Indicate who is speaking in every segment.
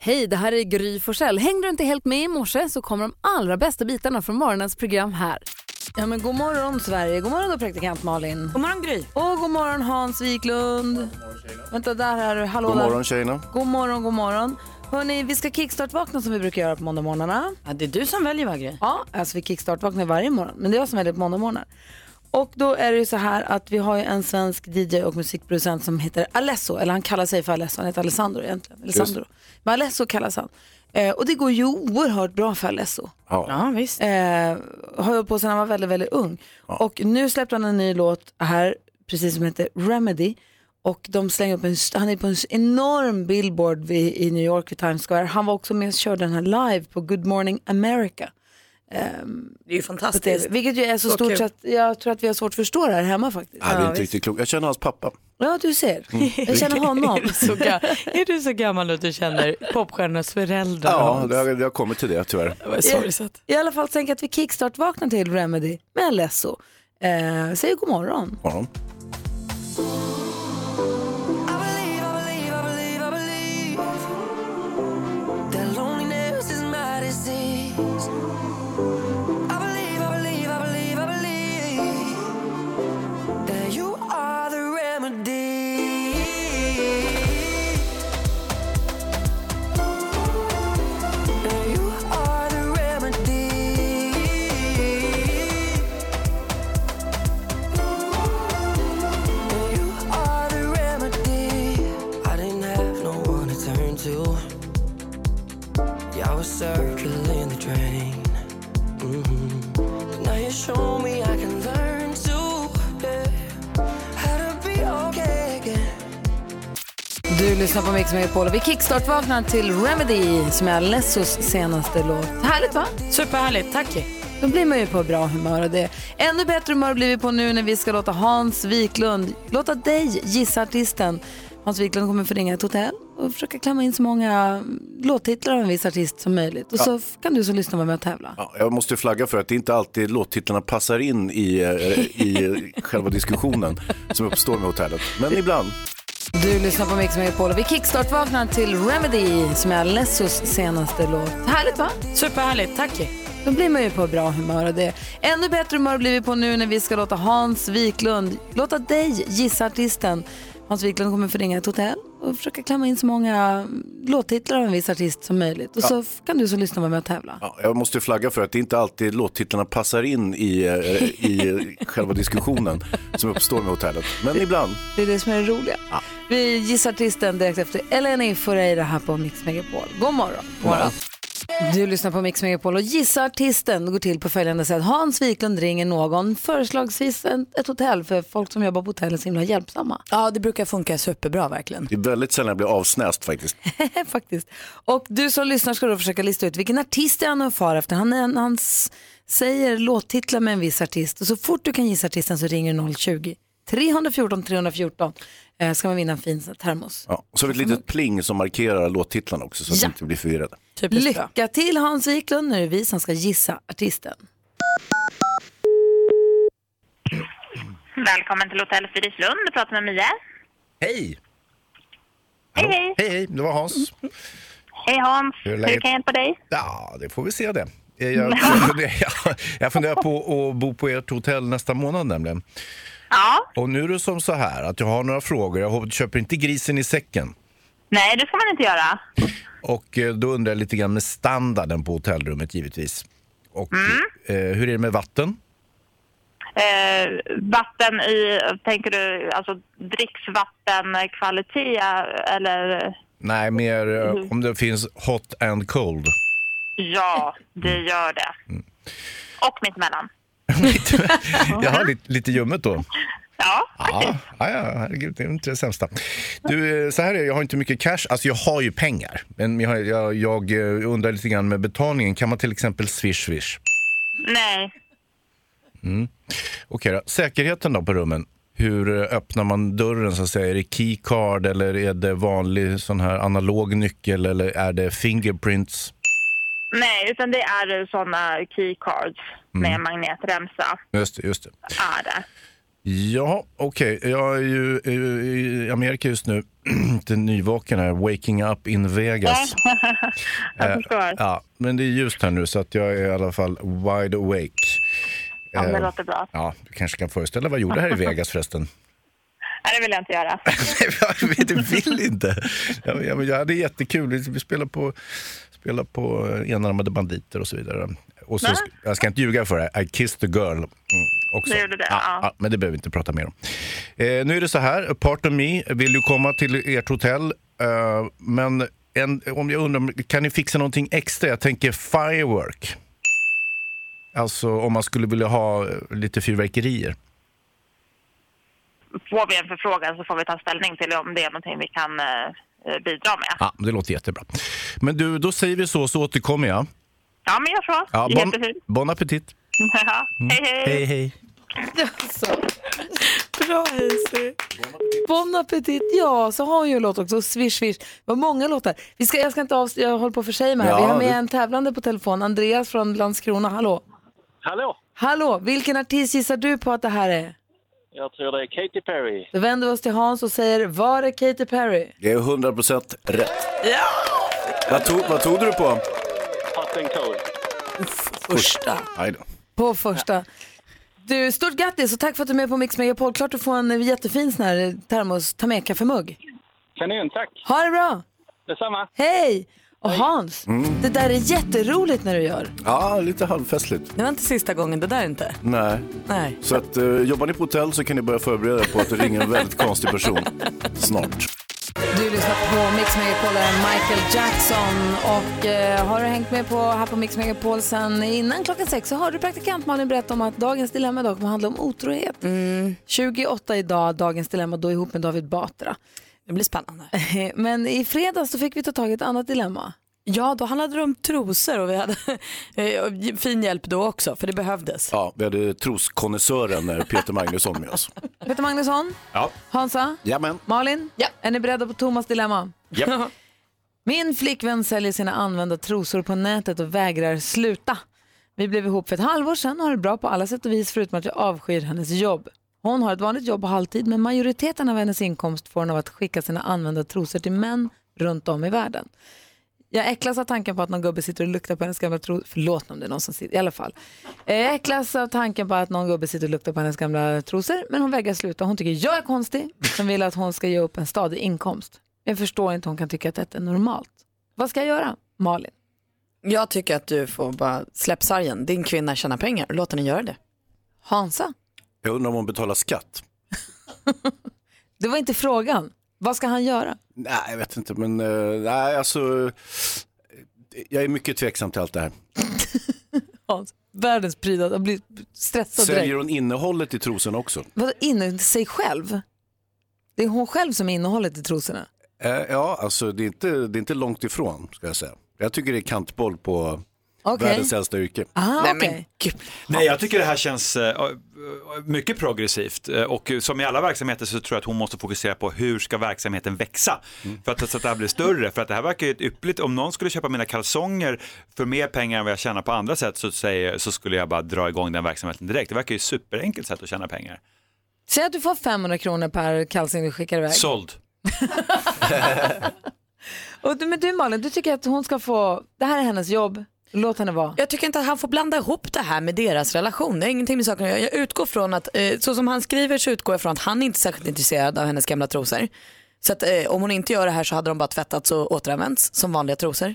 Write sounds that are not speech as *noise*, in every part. Speaker 1: Hej, det här är Gry Forssell. Hängde du inte helt med i morse så kommer de allra bästa bitarna från morgonens program här. Ja, men god morgon Sverige, god morgon då praktikant Malin.
Speaker 2: God morgon Gry.
Speaker 1: Och god morgon Hans Wiklund. Vänta, där är du. Hallå
Speaker 3: God
Speaker 1: där.
Speaker 3: morgon tjejerna.
Speaker 1: God morgon, god morgon. Hörrni, vi ska kickstart-vakna som vi brukar göra på måndagmorgnarna.
Speaker 2: Ja, det är du som väljer va Gry?
Speaker 1: Ja, alltså vi kickstart-vaknar varje morgon, men det är jag som väljer på måndagmorgnar. Och då är det ju så här att vi har ju en svensk DJ och musikproducent som heter Alesso, eller han kallar sig för Alesso, han heter Alessandro egentligen. Alessandro. Men Alesso kallas han. Eh, och det går ju oerhört bra för Alesso.
Speaker 3: Ja.
Speaker 2: Ja, visst.
Speaker 1: Eh, har hållit på sedan han var väldigt, väldigt ung. Och nu släppte han en ny låt här, precis som heter Remedy. Och de slänger upp en, st- han är på en s- enorm billboard vid, i New York vid Times Square. Han var också med och körde den här live på Good Morning America.
Speaker 2: Det är ju
Speaker 1: På TV,
Speaker 2: fantastiskt.
Speaker 1: Eh, vilket ju är så,
Speaker 2: Så
Speaker 1: stort
Speaker 2: kul.
Speaker 1: så att jag tror att vi har svårt att förstå det här hemma faktiskt.
Speaker 3: Ja, det är inte riktigt klokt. Jag känner hans pappa.
Speaker 1: Ja, du ser. Jag känner honom.
Speaker 4: Så ga-
Speaker 2: *laughs*
Speaker 4: är du så gammal att du känner popstjärnornas föräldrar?
Speaker 3: Ja, det har, det har kommit till det tyvärr.
Speaker 4: Det var sorgset.
Speaker 1: I alla fall tänker jag att vi kickstart-vaknar till Remedy med Alesso. Eh, säger god morgon.
Speaker 3: Morgon.
Speaker 5: I was circling the drain. Mm-hmm. Now you show me I can learn to yeah, how to be okay again.
Speaker 1: Du lyssnar på Mix Megapol och vi kickstart-vaknar till Remedy som är Alessos senaste låt. Härligt va?
Speaker 2: Superhärligt, tack.
Speaker 1: Då blir man ju på bra humör och det. Ännu bättre humör blir vi på nu när vi ska låta Hans Wiklund, låta dig gissa artisten. Hans Wiklund kommer få ringa ett hotell och försöka klämma in så många låttitlar av en viss artist som möjligt. Och så f- kan du som lyssnar vara med och tävla.
Speaker 3: Ja, jag måste flagga för att det inte alltid låttitlarna passar in i, eh, i själva diskussionen som uppstår med hotellet. Men ibland.
Speaker 1: Du lyssnar på Mix Megapol och vi kickstart-vaknar till Remedy som är Alessos senaste låt. Härligt va?
Speaker 2: Superhärligt, tack.
Speaker 1: Då blir man ju på bra humör och det. Ännu bättre humör blir vi på nu när vi ska låta Hans Wiklund, låta dig gissa artisten. Hans Wiklund kommer få ringa ett hotell och försöka klämma in så många låttitlar av en viss artist som möjligt. Och så f- kan du som lyssnar vara med och tävla.
Speaker 3: Ja, jag måste flagga för att det inte alltid låttitlarna passar in i, eh, i själva diskussionen som uppstår med hotellet. Men ibland.
Speaker 1: Det är det som är det roliga. Vi gissar artisten direkt efter Eleni Foureira här på Mix Megapol. God morgon. Du lyssnar på Mix Megapol och gissa artisten. Det går till på följande sätt. Hans Wiklund ringer någon, förslagsvis en- ett hotell, för folk som jobbar på hotell är så himla hjälpsamma.
Speaker 2: Ja, det brukar funka superbra verkligen.
Speaker 3: Det är väldigt sällan jag blir avsnäst faktiskt.
Speaker 1: *laughs* faktiskt. Och du som lyssnar ska då försöka lista ut vilken artist det är han far efter. Han, är- han s- säger låttitlar med en viss artist och så fort du kan gissa artisten så ringer du 020 314 314 eh, ska man vinna en fin sån här termos.
Speaker 3: Ja, och så har vi ett litet pling som markerar låttitlarna också så att
Speaker 1: Ja.
Speaker 3: vi inte blir förvirrade.
Speaker 2: Typiskt bra.
Speaker 1: Lycka till Hans Wiklund, nu är det vi som ska gissa artisten.
Speaker 6: Välkommen till Hotell Fridhemslund. Du pratar med Mia.
Speaker 7: Hej!
Speaker 6: Hej, hej.
Speaker 7: Hej, hej. Det var Hans.
Speaker 6: Hej Hans.
Speaker 7: Hur är
Speaker 6: Hur
Speaker 7: läget?
Speaker 6: kan jag hjälpa dig?
Speaker 7: Ja, det får vi se det. Eh, Jag jag funderar, jag, *laughs* jag funderar på att bo på ert hotell nästa månad nämligen.
Speaker 6: Ja.
Speaker 7: Och nu är det som så här att jag har några frågor. Jag hoppas- köper inte grisen i säcken.
Speaker 6: Nej, det får man inte göra.
Speaker 7: Och eh, då undrar jag lite grann med standarden på hotellrummet givetvis. Och eh, hur är det med vatten?
Speaker 6: Eh, vatten i, tänker du, alltså dricksvattenkvalitet eller?
Speaker 7: Nej, mer eh, om det finns hot and cold. *laughs*
Speaker 6: Ja, det gör det.
Speaker 7: Mm.
Speaker 6: Och mittemellan.
Speaker 7: *laughs* Jaha, lite, lite ljummet då.
Speaker 6: Ja,
Speaker 7: Ja, ja, ja, herregud, det är inte det sämsta. Du, eh, så här är det, jag har inte mycket cash. Alltså jag har ju pengar. Men jag, har- jag, jag eh, undrar lite grann med betalningen. Kan man till exempel swish swish?
Speaker 6: nej.
Speaker 7: Okej då. Säkerheten då på rummen. Hur eh, öppnar man dörren så att säga? Är det keycard eller är det vanlig sån här analog nyckel eller är det fingerprints?
Speaker 6: Nej, utan det
Speaker 7: Mm.
Speaker 6: är sådana keycards med magnetremsa.
Speaker 7: Just det, just det.
Speaker 6: Är det.
Speaker 7: Ja, okej. Jag är ju eh, i Amerika just nu. *clears throat* Lite nyvaken här. Waking up in Vegas.
Speaker 6: *laughs* Jag förstår.
Speaker 7: Ja, men det är ljust här nu så att jag är i alla fall wide awake.
Speaker 6: Ja, men det
Speaker 7: Eh,
Speaker 6: låter bra.
Speaker 7: Ja, du kanske kan föreställa vad jag gjorde här i Vegas förresten.
Speaker 6: Nej, det vill jag inte göra.
Speaker 7: *laughs* Nej, du vill inte. Jag, jag, jag hade jättekul. Vi spelade på, spelade på eh, enarmade banditer och så vidare. Och så,
Speaker 6: Va?
Speaker 7: sk- jag ska inte ljuga för dig. I kissed a girl. mm, Också.
Speaker 6: Du gjorde det, ja.
Speaker 7: men det behöver vi inte prata mer om. Eh, nu är det så här. Pardon me vill ju komma till ert hotell. Eh, men en, om jag undrar, kan ni fixa någonting extra? Jag tänker firework. Alltså om man skulle vilja ha eh, lite fyrverkerier.
Speaker 6: Får vi en förfrågan så får vi ta ställning till om det är någonting vi kan eh, eh, bidra med.
Speaker 7: Ja, det låter jättebra. Men du, då säger vi så, så återkommer jag.
Speaker 6: Ja, men gör så.
Speaker 7: Ja,
Speaker 6: Helt
Speaker 7: bon,
Speaker 6: fint.
Speaker 7: bon appetit.
Speaker 6: *laughs* Ja. hej. hej.
Speaker 7: hej.
Speaker 4: Bra Hazy.
Speaker 1: Bon appetit! Ja, så har hon ju en låt också. Swish, swish. Det var många låtar. Vi ska, jag ska inte avs- jag håller på att försäga mig här. Vi
Speaker 3: Ja,
Speaker 1: har med
Speaker 3: det-
Speaker 1: en tävlande på telefon. Andreas från Landskrona. Hallå!
Speaker 8: Hallå!
Speaker 1: Hallå! Vilken artist gissar du på att det här är?
Speaker 8: Jag tror det är Katy Perry.
Speaker 1: Då vänder vi oss till Hans och säger, var är Katy Perry?
Speaker 3: Det är 100 procent rätt. Vad, tog, vad tog du på?
Speaker 8: Hot and cold.
Speaker 2: Första.
Speaker 3: Aj då.
Speaker 1: På första. Du, stort grattis och tack för att du är med på Mix Megapol. Klart du får en jättefin sån här termos ta med kaffemugg.
Speaker 8: Kanon, tack!
Speaker 1: Ha det bra!
Speaker 8: Detsamma!
Speaker 1: Hej! Och Hans, det där är jätteroligt när du gör.
Speaker 3: Ja, lite halvfestligt.
Speaker 2: Det var inte sista gången, det där inte.
Speaker 3: Nej.
Speaker 2: Nej.
Speaker 3: Så att, eh, jobbar ni på hotell så kan ni börja förbereda er på att det ringer en väldigt konstig person snart.
Speaker 1: Du lyssnar på Mix Megapol, där Michael Jackson. Och eh, har du hängt med på, här på Mix Megapol sen innan klockan sex så har du praktikant Malin berätta om att dagens dilemma idag kommer handla om otrohet.
Speaker 2: Mm.
Speaker 1: 28 idag, dagens dilemma, då ihop med David Batra.
Speaker 2: Det blir spännande.
Speaker 1: *laughs* Men i fredags så fick vi ta tag i ett annat dilemma.
Speaker 2: Ja, då handlade det om trosor och vi hade *laughs* eh, fin hjälp då också, för det behövdes.
Speaker 3: Ja, vi hade troskonnässören eh, Peter Magnusson med oss.
Speaker 1: Peter Magnusson,
Speaker 3: Ja.
Speaker 1: Hansa,
Speaker 3: Jajamän.
Speaker 1: Malin, är ni beredda på Thomas dilemma?
Speaker 3: Japp.
Speaker 1: Min flickvän säljer sina använda trosor på nätet och vägrar sluta. Vi blev ihop för ett halvår sedan och har det bra på alla sätt och vis förutom att jag avskyr hennes jobb. Hon har ett vanligt jobb på halvtid men majoriteten av hennes inkomst får hon av att skicka sina använda trosor till män runt om i världen. Jag äcklas av tanken på att någon gubbe sitter och luktar på hennes gamla trosor. Förlåt om det är någon som sitter, i alla fall. Eh, Jag äcklas av tanken på att någon gubbe sitter och luktar på hennes gamla trosor men hon vägrar sluta. Hon tycker jag är konstig som vill att hon ska ge upp en stadig inkomst. Jag förstår inte hon kan tycka att detta är normalt. Vad ska jag göra? Malin.
Speaker 2: Jag tycker att du får bara släpp sargen. Din kvinna tjänar pengar, låt henne göra det.
Speaker 1: Hansa?
Speaker 3: Jag undrar om hon betalar skatt.
Speaker 1: Det var inte frågan. Vad ska han göra?
Speaker 3: Nej, jag vet inte, men eh, nej, alltså, eh, jag är mycket tveksam till allt det här.
Speaker 1: Hans, världens prydnad. Jag blir stressad
Speaker 3: Säljer
Speaker 1: direkt.
Speaker 3: hon innehållet i trosen också?
Speaker 1: Vadå in sig själv? Det är hon själv som är innehållet i trosorna.
Speaker 3: Eh, ja, alltså det är, inte, det är inte långt ifrån, ska jag säga. Jag tycker det är kantboll på
Speaker 1: Okej.
Speaker 3: världens äldsta yrke.
Speaker 1: Ah,
Speaker 2: Nej, men
Speaker 1: okej.
Speaker 2: gud.
Speaker 9: Nej, jag tycker det här känns eh, eh, mycket progressivt eh, och eh, som i alla verksamheter så tror jag att hon måste fokusera på hur ska verksamheten växa för att, så att det här blir större. För att det här verkar ju ett yppligt, om någon skulle köpa mina kalsonger för mer pengar än vad jag tjänar på andra sätt så, säger, så skulle jag bara dra igång den verksamheten direkt. Det verkar ju ett superenkelt sätt att tjäna pengar.
Speaker 1: Säg att du får 500 kronor per kalsing du skickar iväg.
Speaker 9: Såld.
Speaker 1: Och, du- men du Malin, du tycker att hon ska få, det här är hennes jobb, låt henne vara.
Speaker 2: Jag tycker inte att han får blanda ihop det här med deras relation. Det är ingenting med saken att göra. Jag utgår från att, eh, så som han skriver så utgår jag från att han inte är särskilt intresserad av hennes gamla trosor. Så att eh, om hon inte gör det här så hade de bara tvättats och återanvänts som vanliga trosor.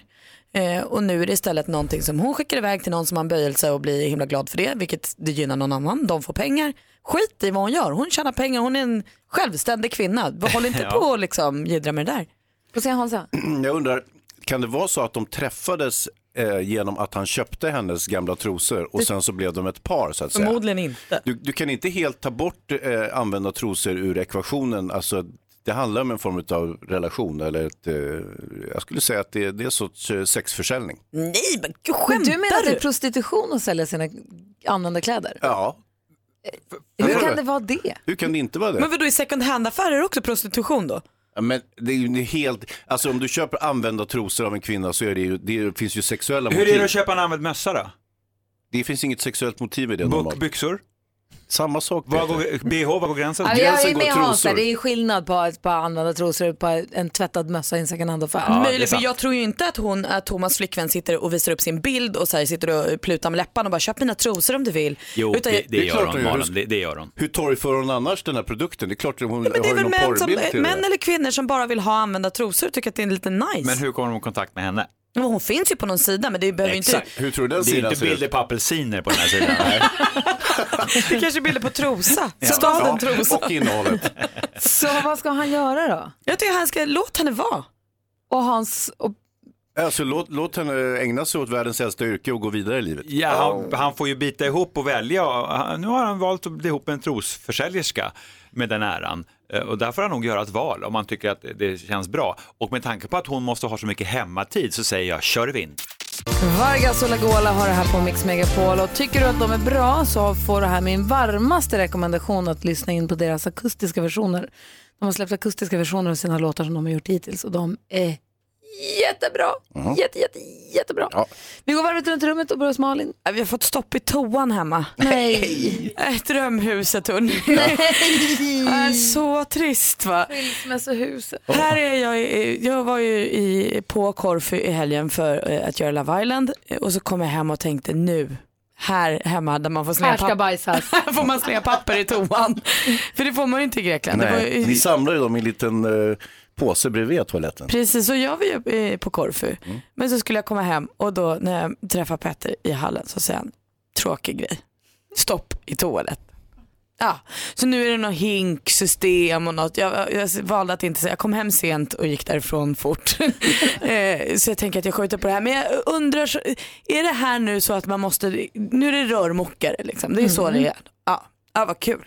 Speaker 2: Eh, och nu är det istället någonting som hon skickar iväg till någon som har en böjelse och blir himla glad för det, vilket det gynnar någon annan. De får pengar. Skit i vad hon gör. Hon tjänar pengar. Hon är en självständig kvinna. Håll inte på och liksom jiddra med det där.
Speaker 1: Får se Hansa?
Speaker 3: *clears throat* Jag undrar, kan det vara så att de träffades eh, genom att han köpte hennes gamla trosor och sen så blev de ett par så att säga?
Speaker 2: Förmodligen inte.
Speaker 3: Du, du kan inte helt ta bort eh, använda trosor ur ekvationen. Alltså, det handlar om en form av relation eller ett, eh, jag skulle säga att det, det är en sorts eh, sexförsäljning.
Speaker 1: Mm.
Speaker 2: Nej, men gud,
Speaker 1: Men
Speaker 2: skämtar
Speaker 1: du menar typ att det är prostitution att sälja sina använda kläder?
Speaker 3: Ja,
Speaker 1: Eh, Hur
Speaker 3: det-
Speaker 1: kan det vara det?
Speaker 3: hur kan det inte vara det?
Speaker 2: Men vadå i second hand-affärer också prostitution då?
Speaker 3: Ja, Men det är ju helt, alltså om du köper använda trosor av en kvinna så är det ju, det finns ju sexuella
Speaker 9: Hur är
Speaker 3: motiv.
Speaker 9: det att köpa en använd mössa då?
Speaker 3: Det finns inget sexuellt motiv i det
Speaker 9: Bok,
Speaker 3: normalt.
Speaker 9: byxor?
Speaker 3: Samma sak
Speaker 9: Var
Speaker 3: Peter.
Speaker 9: går, BH, var går gränsen?
Speaker 1: Ja, Jag är
Speaker 3: Gränsen går
Speaker 1: med Hans där.
Speaker 3: trosor.
Speaker 1: det är skillnad på ett par använda trosor och på en tvättad mössa i en second hand-affär.
Speaker 9: det är
Speaker 2: Möjligt, för
Speaker 9: sant.
Speaker 2: jag tror ju inte att hon, att Thomas flickvän sitter och visar upp sin bild och så här sitter och plutar med läpparna och bara köp mina trosor om du vill.
Speaker 9: Jo,
Speaker 2: Utan
Speaker 9: det,
Speaker 2: jag-
Speaker 9: det
Speaker 3: är klart
Speaker 9: gör
Speaker 3: hon
Speaker 9: hon,
Speaker 3: gör.
Speaker 9: Malin. Det, det gör hon.
Speaker 3: Hur torgför hon annars den här produkten? Det är klart att hon
Speaker 2: men det är
Speaker 3: har ju
Speaker 2: väl
Speaker 3: någon
Speaker 2: män, som,
Speaker 3: porrbild till det.
Speaker 2: män eller kvinnor som bara vill ha använda trosor och tycker att det är lite nice.
Speaker 9: Men hur kommer de i kontakt med henne?
Speaker 2: Men Hon finns ju på någon sida men det behöver ju inte,
Speaker 3: Hur tror du den
Speaker 9: Det är ju
Speaker 3: sidan
Speaker 9: inte
Speaker 3: ser
Speaker 9: bilder
Speaker 3: ut?
Speaker 9: på apelsiner på den här sidan. Nej.
Speaker 2: det kanske är bilder på trosa.
Speaker 3: Ja,
Speaker 2: Staden trosa.
Speaker 3: Och innehållet. *laughs*
Speaker 1: Så vad ska han göra då?
Speaker 2: Jag tycker han ska, låt henne vara.
Speaker 1: Och Hans, och,
Speaker 3: Alltså, låt, låt henne ägna sig åt världens äldsta yrke och gå vidare i livet.
Speaker 9: Ja,
Speaker 10: Oh.
Speaker 9: han, han får ju bita ihop och välja. Han- Nu har han valt att bli ihop med en trosförsäljerska med den äran. Eh, Och där får han nog göra ett val om han tycker att det känns bra. Och med tanke på att hon måste ha så mycket hemmatid så säger jag kör vind.
Speaker 1: Vargas och Lagola har det här på Mix Megapol och tycker du att de är bra så får du här min varmaste rekommendation att lyssna in på deras akustiska versioner. De har släppt akustiska versioner av sina låtar som de har gjort hittills och de är jättebra. Jätte, jätte, jättebra. Vi går varvet runt rummet och börjar hos Malin.
Speaker 2: Vi har fått stopp i toan hemma.
Speaker 1: *laughs* Nej.
Speaker 2: Äh, Drömhuset hörni. Äh, Så trist va.
Speaker 1: Skilsmässohuset.
Speaker 2: Här är jag, i- jag var ju i, på Korfu i helgen för eh, att göra Love Island eh, och så kom jag hem och tänkte nu, här hemma där man får slänga
Speaker 1: Här ska
Speaker 2: papper, *laughs*
Speaker 1: bajsas.
Speaker 2: här får man slänga papper i toan. För det får man ju inte i Grekland. Det var
Speaker 3: Nej,
Speaker 2: ju,
Speaker 3: ni samlar ju dem i en liten eh, påse bredvid toaletten.
Speaker 2: Precis, så gör vi ju eh, på Korfu. Men så skulle jag komma hem och då när jag träffar Petter i hallen så säger han, tråkig grej, stopp i toalett. Ja, så nu är det något hinksystem och något. Jag, jag valde att inte säga, jag kom hem sent och gick därifrån fort. eh, så jag tänker att jag skjuter på det här. Men jag undrar, så- är det här nu så att man måste, nu är det rörmokare liksom. Det är så det är. Ja, ja vad kul.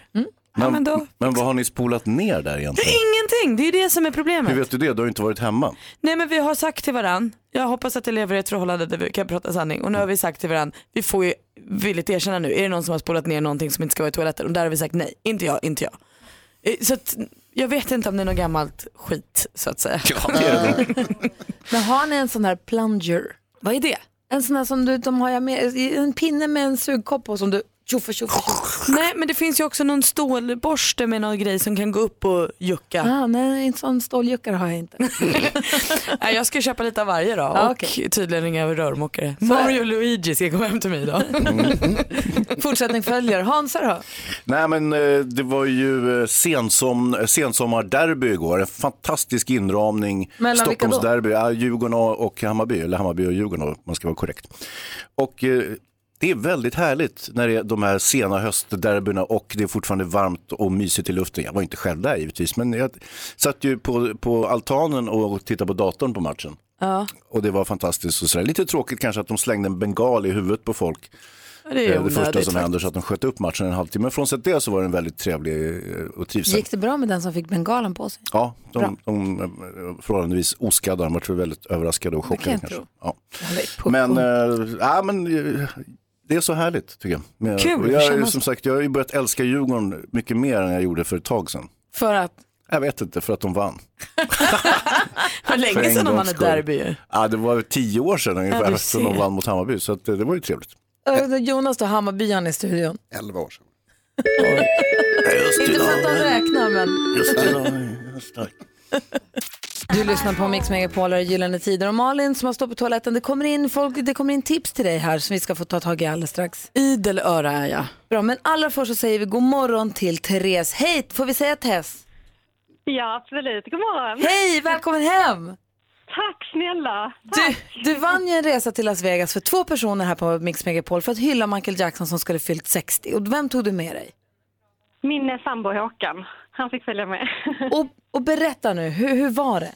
Speaker 2: Ja, men då,
Speaker 3: men vad har ni spolat ner där egentligen?
Speaker 2: ingenting, det är ju det som är
Speaker 3: Hur
Speaker 2: problemet.
Speaker 3: vet du det? Du har ju inte varit hemma.
Speaker 2: Nej men vi har sagt till varann, jag hoppas att det lever i ett förhållande där vi kan prata sanning och nu har vi sagt till varann, vi får ju villigt erkänna nu, är det någon som har spolat ner någonting som inte ska vara i toaletten? Och där har vi sagt nej, inte jag, inte jag. Eh, Så att, jag vet inte om det är något gammalt skit så att säga.
Speaker 1: *laughs* Men har ni en sån här plunger?
Speaker 2: *laughs* Vad är det?
Speaker 1: En sån här som du, de har jag med, en pinne med en sugkopp på som du tjoffa tjoffa tjoffa.
Speaker 2: Nej men det finns ju också någon stålborste med någon grej som kan gå upp och jucka.
Speaker 1: Ah, nej, en sån ståljuckare har jag inte.
Speaker 2: Nej, jag ska köpa lite av varje då
Speaker 3: Ah,
Speaker 1: Ja,
Speaker 2: och
Speaker 1: okej.
Speaker 2: tydligen ringa rörmokare. Mario och Luigi ska komma hem till mig idag.
Speaker 1: Fortsättning följer. Hansa då?
Speaker 3: Nej, men eh, det var ju eh, sensom, sensommarderby igår. En fantastisk inramning.
Speaker 1: Mellan vilka då?
Speaker 3: Stockholmsderby. Ja, Djurgården och Hammarby, eller Hammarby och Djurgården om man ska vara korrekt. Och eh, det är väldigt härligt när det är de här sena höstderbyna och det är fortfarande varmt och mysigt i luften. Jag var inte själv där givetvis, men jag satt ju på, på altanen och tittade på datorn på matchen. Och det var fantastiskt. Och sådär. Lite tråkigt kanske att de slängde en bengal i huvudet på folk
Speaker 2: Det är
Speaker 3: eh, det första
Speaker 2: onödigt.
Speaker 3: som händer så att de sköt upp matchen en halvtimme. Men frånsett det så var den väldigt trevlig eh, och trivsam.
Speaker 1: Gick det bra med den som fick bengalen på sig?
Speaker 3: Ja, de, de eh, förhållandevis oskadda. De var väldigt överraskade och
Speaker 1: kan
Speaker 3: chockade
Speaker 1: jag
Speaker 3: kanske.
Speaker 1: tro.
Speaker 3: Ja.
Speaker 1: Eller, puh.
Speaker 3: Men,
Speaker 11: eh,
Speaker 3: äh, ja, men eh, det är så härligt tycker jag. Men,
Speaker 2: Kul,
Speaker 3: och
Speaker 2: det
Speaker 3: jag, är,
Speaker 2: känns-
Speaker 3: som sagt, jag har ju börjat älska Djurgården mycket mer än jag gjorde för ett tag sedan.
Speaker 1: För att?
Speaker 3: Jag vet inte, för att de vann.
Speaker 2: Det var
Speaker 3: *laughs* För
Speaker 2: länge
Speaker 3: en
Speaker 2: sedan de
Speaker 3: gångs
Speaker 2: vann ett
Speaker 3: skull.
Speaker 2: derby ju.
Speaker 3: Ja, det var tio år sedan ungefär
Speaker 2: du
Speaker 3: som de
Speaker 2: ser.
Speaker 3: vann mot Hammarby, så att, eh, det var ju trevligt.
Speaker 1: Ö, eh, Jonas då, Hammarbyarna i studion.
Speaker 11: 11 eh, år sedan.
Speaker 1: Inte för att de räknar men.
Speaker 3: Just det, just det.
Speaker 1: Du lyssnar på Mix Megapol och Gyllene Tider och Malin som har stått på toaletten. Det kommer in, folk, det kommer in tips till dig här som vi ska få ta tag i alldeles strax.
Speaker 2: Idel öra är jag.
Speaker 1: Bra, men allra först så säger vi god morgon till Therese. Hej, får vi säga Tess?
Speaker 6: Ja, absolut. God morgon.
Speaker 1: Hej, välkommen hem!
Speaker 6: Tack snälla.
Speaker 1: Du, du vann ju en resa till Las Vegas för två personer här på Mix Megapol för att hylla Michael Jackson som skulle fyllt 60. Och vem tog du med dig?
Speaker 6: Min eh, sambo Håkan, han fick följa med. *laughs*
Speaker 1: Och, och berätta nu, hur, hur var det?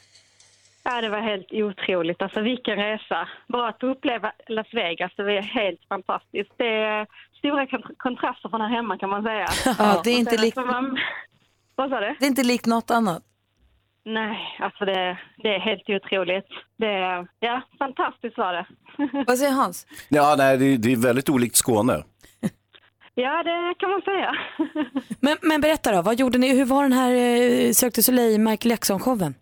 Speaker 6: ja, det var helt otroligt. Alltså vilken resa. Bara att uppleva Las Vegas, det var helt fantastiskt. Det är stora kont- kontraster från här hemma kan man *laughs* säga.
Speaker 1: Ja, det, är
Speaker 6: Och
Speaker 1: inte
Speaker 6: sen
Speaker 1: likt,
Speaker 6: att man- Vad sa du?
Speaker 1: det är inte likt något annat.
Speaker 6: Nej, alltså det, det är helt otroligt. Det, ja, fantastiskt var det. *laughs*
Speaker 1: Vad säger Hans?
Speaker 3: Ja, nej, det, det är väldigt olikt Skåne.
Speaker 6: ja, det kan man säga. *laughs*
Speaker 2: Men, men berätta då, vad gjorde ni? Hur var den här eh, Cirque du Soleil Michael Jackson-showen?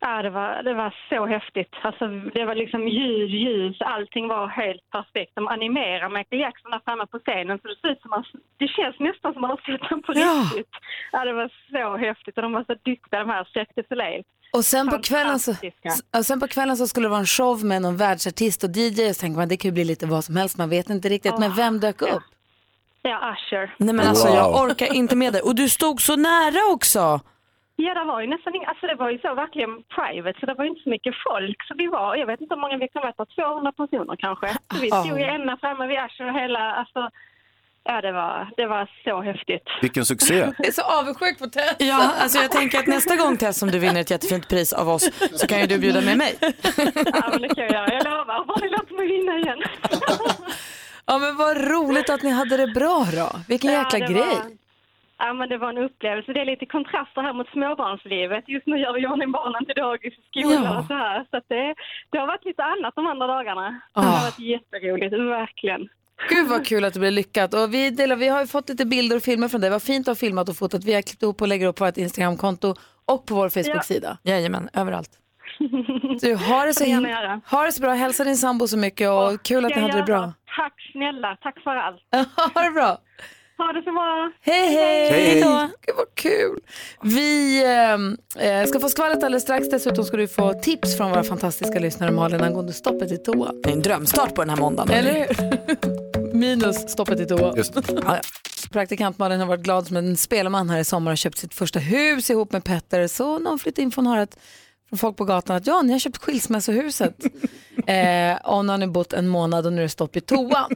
Speaker 6: Ja, det var, det var så häftigt. Alltså, det var liksom ljud, ljus, allting var helt perfekt. De animerar Michael Jackson där framme på scenen så det ser ut som man, det känns nästan som man har sett dem på
Speaker 1: Ja.
Speaker 6: riktigt. Ja, det var så häftigt och de var så duktiga de här Cirque du Soleil.
Speaker 1: Och sen, på kvällen så,
Speaker 6: Fantastiska.
Speaker 1: s- och sen på kvällen så skulle det vara en show med någon världsartist och DJ. Så tänker man det kan ju bli lite vad som helst, man vet inte riktigt. Men vem dök upp?
Speaker 6: Ja, Usher.
Speaker 2: Nej men alltså jag
Speaker 3: Wow.
Speaker 2: orkar inte med det. Och du stod så nära också.
Speaker 6: Ja, det var ju nästan inga, alltså det var ju så verkligen private, så det var ju inte så mycket folk. Så vi var, jag vet inte hur många vi kan vara, på, 200 personer kanske. Så vi stod ju ända framme vid Usher och hela, alltså, ja det var, det var så häftigt.
Speaker 3: Vilken succé.
Speaker 1: Jag är så avundsjuk på Tess.
Speaker 2: Ja, alltså jag tänker att nästa gång Tess om du vinner ett jättefint pris av oss så kan ju du bjuda med mig.
Speaker 6: Ja, men det kan jag göra, jag lovar. Bara ni låter mig vinna igen.
Speaker 1: Ja men vad roligt att ni hade det bra då. Vilken jäkla
Speaker 6: ja, det
Speaker 1: grej.
Speaker 6: Var, ja, men det var en upplevelse. Det är lite kontraster här mot småbarnslivet. Just nu gör vi i ordning barnen till dagis och skola
Speaker 1: Ja.
Speaker 6: och så här. Så att det, det har varit lite annat de andra dagarna. Det har varit jätteroligt, verkligen.
Speaker 1: Gud vad kul att det blev lyckat. Och vi, delar, vi har ju fått lite bilder och filmer från dig. Vad fint att ha filmat och fotat. Vi har klippt ihop och lägger upp på vårt Instagramkonto och på vår Facebook-sida.
Speaker 2: Jajamän, överallt.
Speaker 1: Du, har det, så
Speaker 6: Det kan
Speaker 1: him-
Speaker 6: jag göra.
Speaker 1: ha det så bra. Hälsa din sambo så mycket och kul att
Speaker 6: Ska
Speaker 1: ni
Speaker 6: jag
Speaker 1: hade det
Speaker 6: göra.
Speaker 1: bra.
Speaker 6: Tack snälla, tack för allt.
Speaker 1: *laughs* ha det bra.
Speaker 6: Ha det så bra.
Speaker 1: Hej, hej!
Speaker 3: Hej, hej.
Speaker 1: Gud, vad kul. Vi eh, ska få skvallret alldeles strax. Dessutom ska du få tips från våra fantastiska lyssnare Malin angående stoppet i toa.
Speaker 2: Det är en drömstart på den här måndagen.
Speaker 1: Eller hur? *laughs* Minus stoppet i toa.
Speaker 3: Just.
Speaker 2: Ja,
Speaker 1: Praktikant Malin har varit glad som en spelman här i sommar och köpt sitt första hus ihop med Petter. Så någon flyttade in från höra att från folk på gatan att ja, ni har köpt *laughs* skilsmässohuset. eh, och nu har ni bott en månad och nu är det stopp i toan.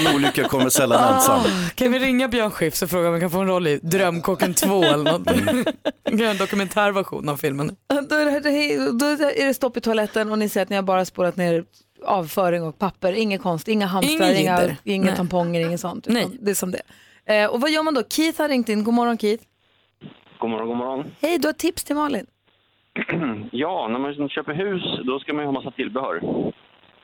Speaker 3: En olycka kommer
Speaker 2: Ah.
Speaker 3: sällan ensam.
Speaker 2: Kan vi ringa Björn Skifs och fråga om vi kan få en roll i Drömkocken 2 eller någonting? Vi gör en dokumentärversion av filmen.
Speaker 1: *laughs* då, är det, då är det stopp i toaletten och ni säger att ni har bara spolat ner avföring och papper. Inget konst, inga hamstrar,
Speaker 2: Inget
Speaker 1: inga,
Speaker 2: jidder.
Speaker 1: inga
Speaker 2: Nej.
Speaker 1: tamponger, inget sånt. Utan
Speaker 2: Nej.
Speaker 1: Det är som det är. eh, Och vad gör man då? Keith har ringt in. God morgon Keith.
Speaker 8: God morgon, god morgon.
Speaker 1: Hej, du har tips till Malin.
Speaker 8: Ja, när man liksom köper hus då ska man ju ha massa tillbehör.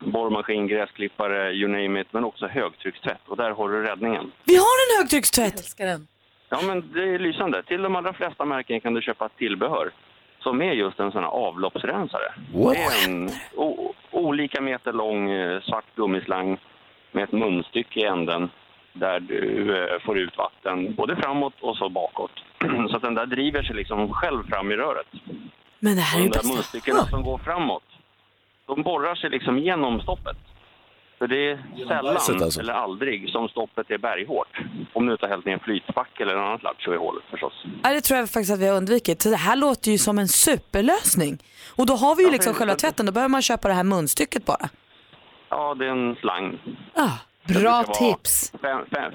Speaker 8: Borrmaskin, gräsklippare, you name it, men också högtryckstvätt. Och där har du räddningen.
Speaker 2: Vi har en högtryckstvätt!
Speaker 1: Älskar den.
Speaker 8: Ja, men det är lysande. Till de allra flesta märken kan du köpa tillbehör som är just en sån här avloppsrensare. Det är en o- olika meter lång eh, svart gummislang med ett munstycke i änden där du eh, får ut vatten både framåt och så bakåt. *clears throat* så att den där driver sig liksom själv fram i röret.
Speaker 2: Men det här
Speaker 8: Och
Speaker 2: är ju
Speaker 8: de där
Speaker 2: bästa.
Speaker 8: munstyckena som går framåt, de borrar sig liksom genom stoppet. För det är
Speaker 3: bajset
Speaker 8: sällan,
Speaker 3: alltså.
Speaker 8: eller aldrig, som stoppet är berghårt. Om du inte har hällt ner en flytspackel eller något annat lattjo i hålet förstås.
Speaker 2: Ja, det tror jag faktiskt att vi har undvikit. Så Det här låter ju som en superlösning. Och då har vi ju liksom själva tvätten, då behöver man köpa det här munstycket bara.
Speaker 8: Ja, det är en slang.
Speaker 2: Ah.
Speaker 1: Bra
Speaker 8: brukar vara-
Speaker 1: tips.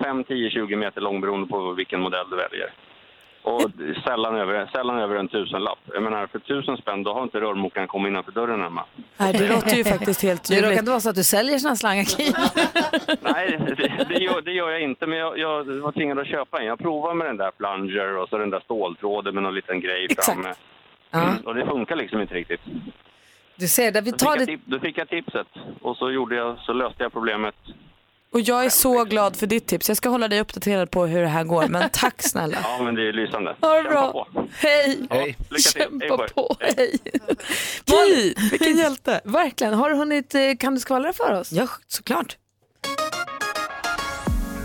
Speaker 8: 5, 10, 20 meter lång beroende på vilken modell du väljer. Och sällan över, sällan över en tusenlapp. Jag menar, för tusen spänn då har inte rörmokaren kommit innanför dörren hemma.
Speaker 2: Nej, det låter
Speaker 1: *laughs*
Speaker 2: ju faktiskt helt
Speaker 1: Det råkar
Speaker 2: ljuvligt.
Speaker 1: inte vara så att du säljer såna slangar Keith.
Speaker 8: Nej, det, det, gör, det gör jag inte, men jag, jag var tvingad att köpa en. Jag provade med den där plunger och så den där ståltråden med någon liten grej
Speaker 2: Exakt.
Speaker 8: framme. Mm, Och det funkar liksom inte riktigt.
Speaker 1: Du ser, där vi
Speaker 8: Då
Speaker 1: tar
Speaker 8: fick, jag
Speaker 1: det.
Speaker 8: tip, då fick jag tipset och så, gjorde jag, så löste jag problemet.
Speaker 2: *laughs* Och jag är så glad för ditt tips. Jag ska hålla dig uppdaterad på hur det här går. Men tack
Speaker 1: *laughs*
Speaker 2: snälla.
Speaker 8: Ja, men det är lysande.
Speaker 1: Ha det
Speaker 8: Kämpa
Speaker 1: bra.
Speaker 8: på.
Speaker 1: Hej.
Speaker 8: Ja, lycka till. Hej på
Speaker 1: Kämpa
Speaker 8: er.
Speaker 1: på. Hej.
Speaker 2: Gry, vilken hjälte.
Speaker 1: Verkligen. Har du hunnit, eh, kan du skvallra för oss?
Speaker 2: Ja, såklart.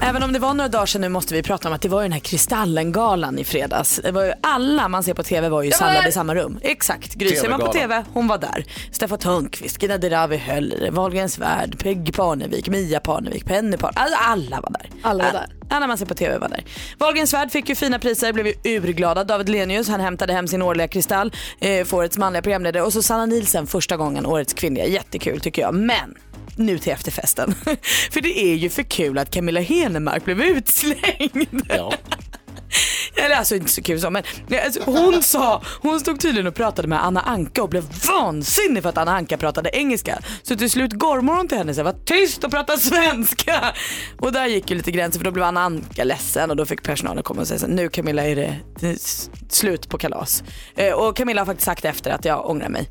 Speaker 2: Även om det var några dagar sedan nu måste vi prata om att det var ju den här Kristallengalan i fredags. Det var ju alla man ser på TV var ju samlade i samma rum. Exakt, Gry ser man på TV, hon var där. Steffan Törnqvist, Gina Dirawi höll i det, Wahlgrens Värld, Peg Parnevik, Mia Parnevik, Penny Parnevik. Alltså alla var där.
Speaker 1: Alla var där.
Speaker 2: Alla man ser på TV var där. Wahlgrens Värld fick ju fina priser, blev ju urglada. David Lenius, han hämtade hem sin årliga Kristall eh, för årets manliga programledare. Och så Sanna Nielsen första gången, årets kvinnliga. Jättekul tycker jag. Men nu till efterfesten. *laughs* för det är ju för kul att Camilla Henemark blev utslängd. Eller alltså inte så kul så men alltså, hon sa, hon stod tydligen och pratade med Anna Anka och blev vansinnig för att Anna Anka pratade engelska. Så till slut gormade hon till henne och sa var tyst och prata svenska. Och där gick ju lite gränser för då blev Anna Anka ledsen och då fick personalen komma och säga så här, nu Camilla är det det är s- slut på kalas. Eh, Och Camilla har faktiskt sagt efter att jag ångrar mig.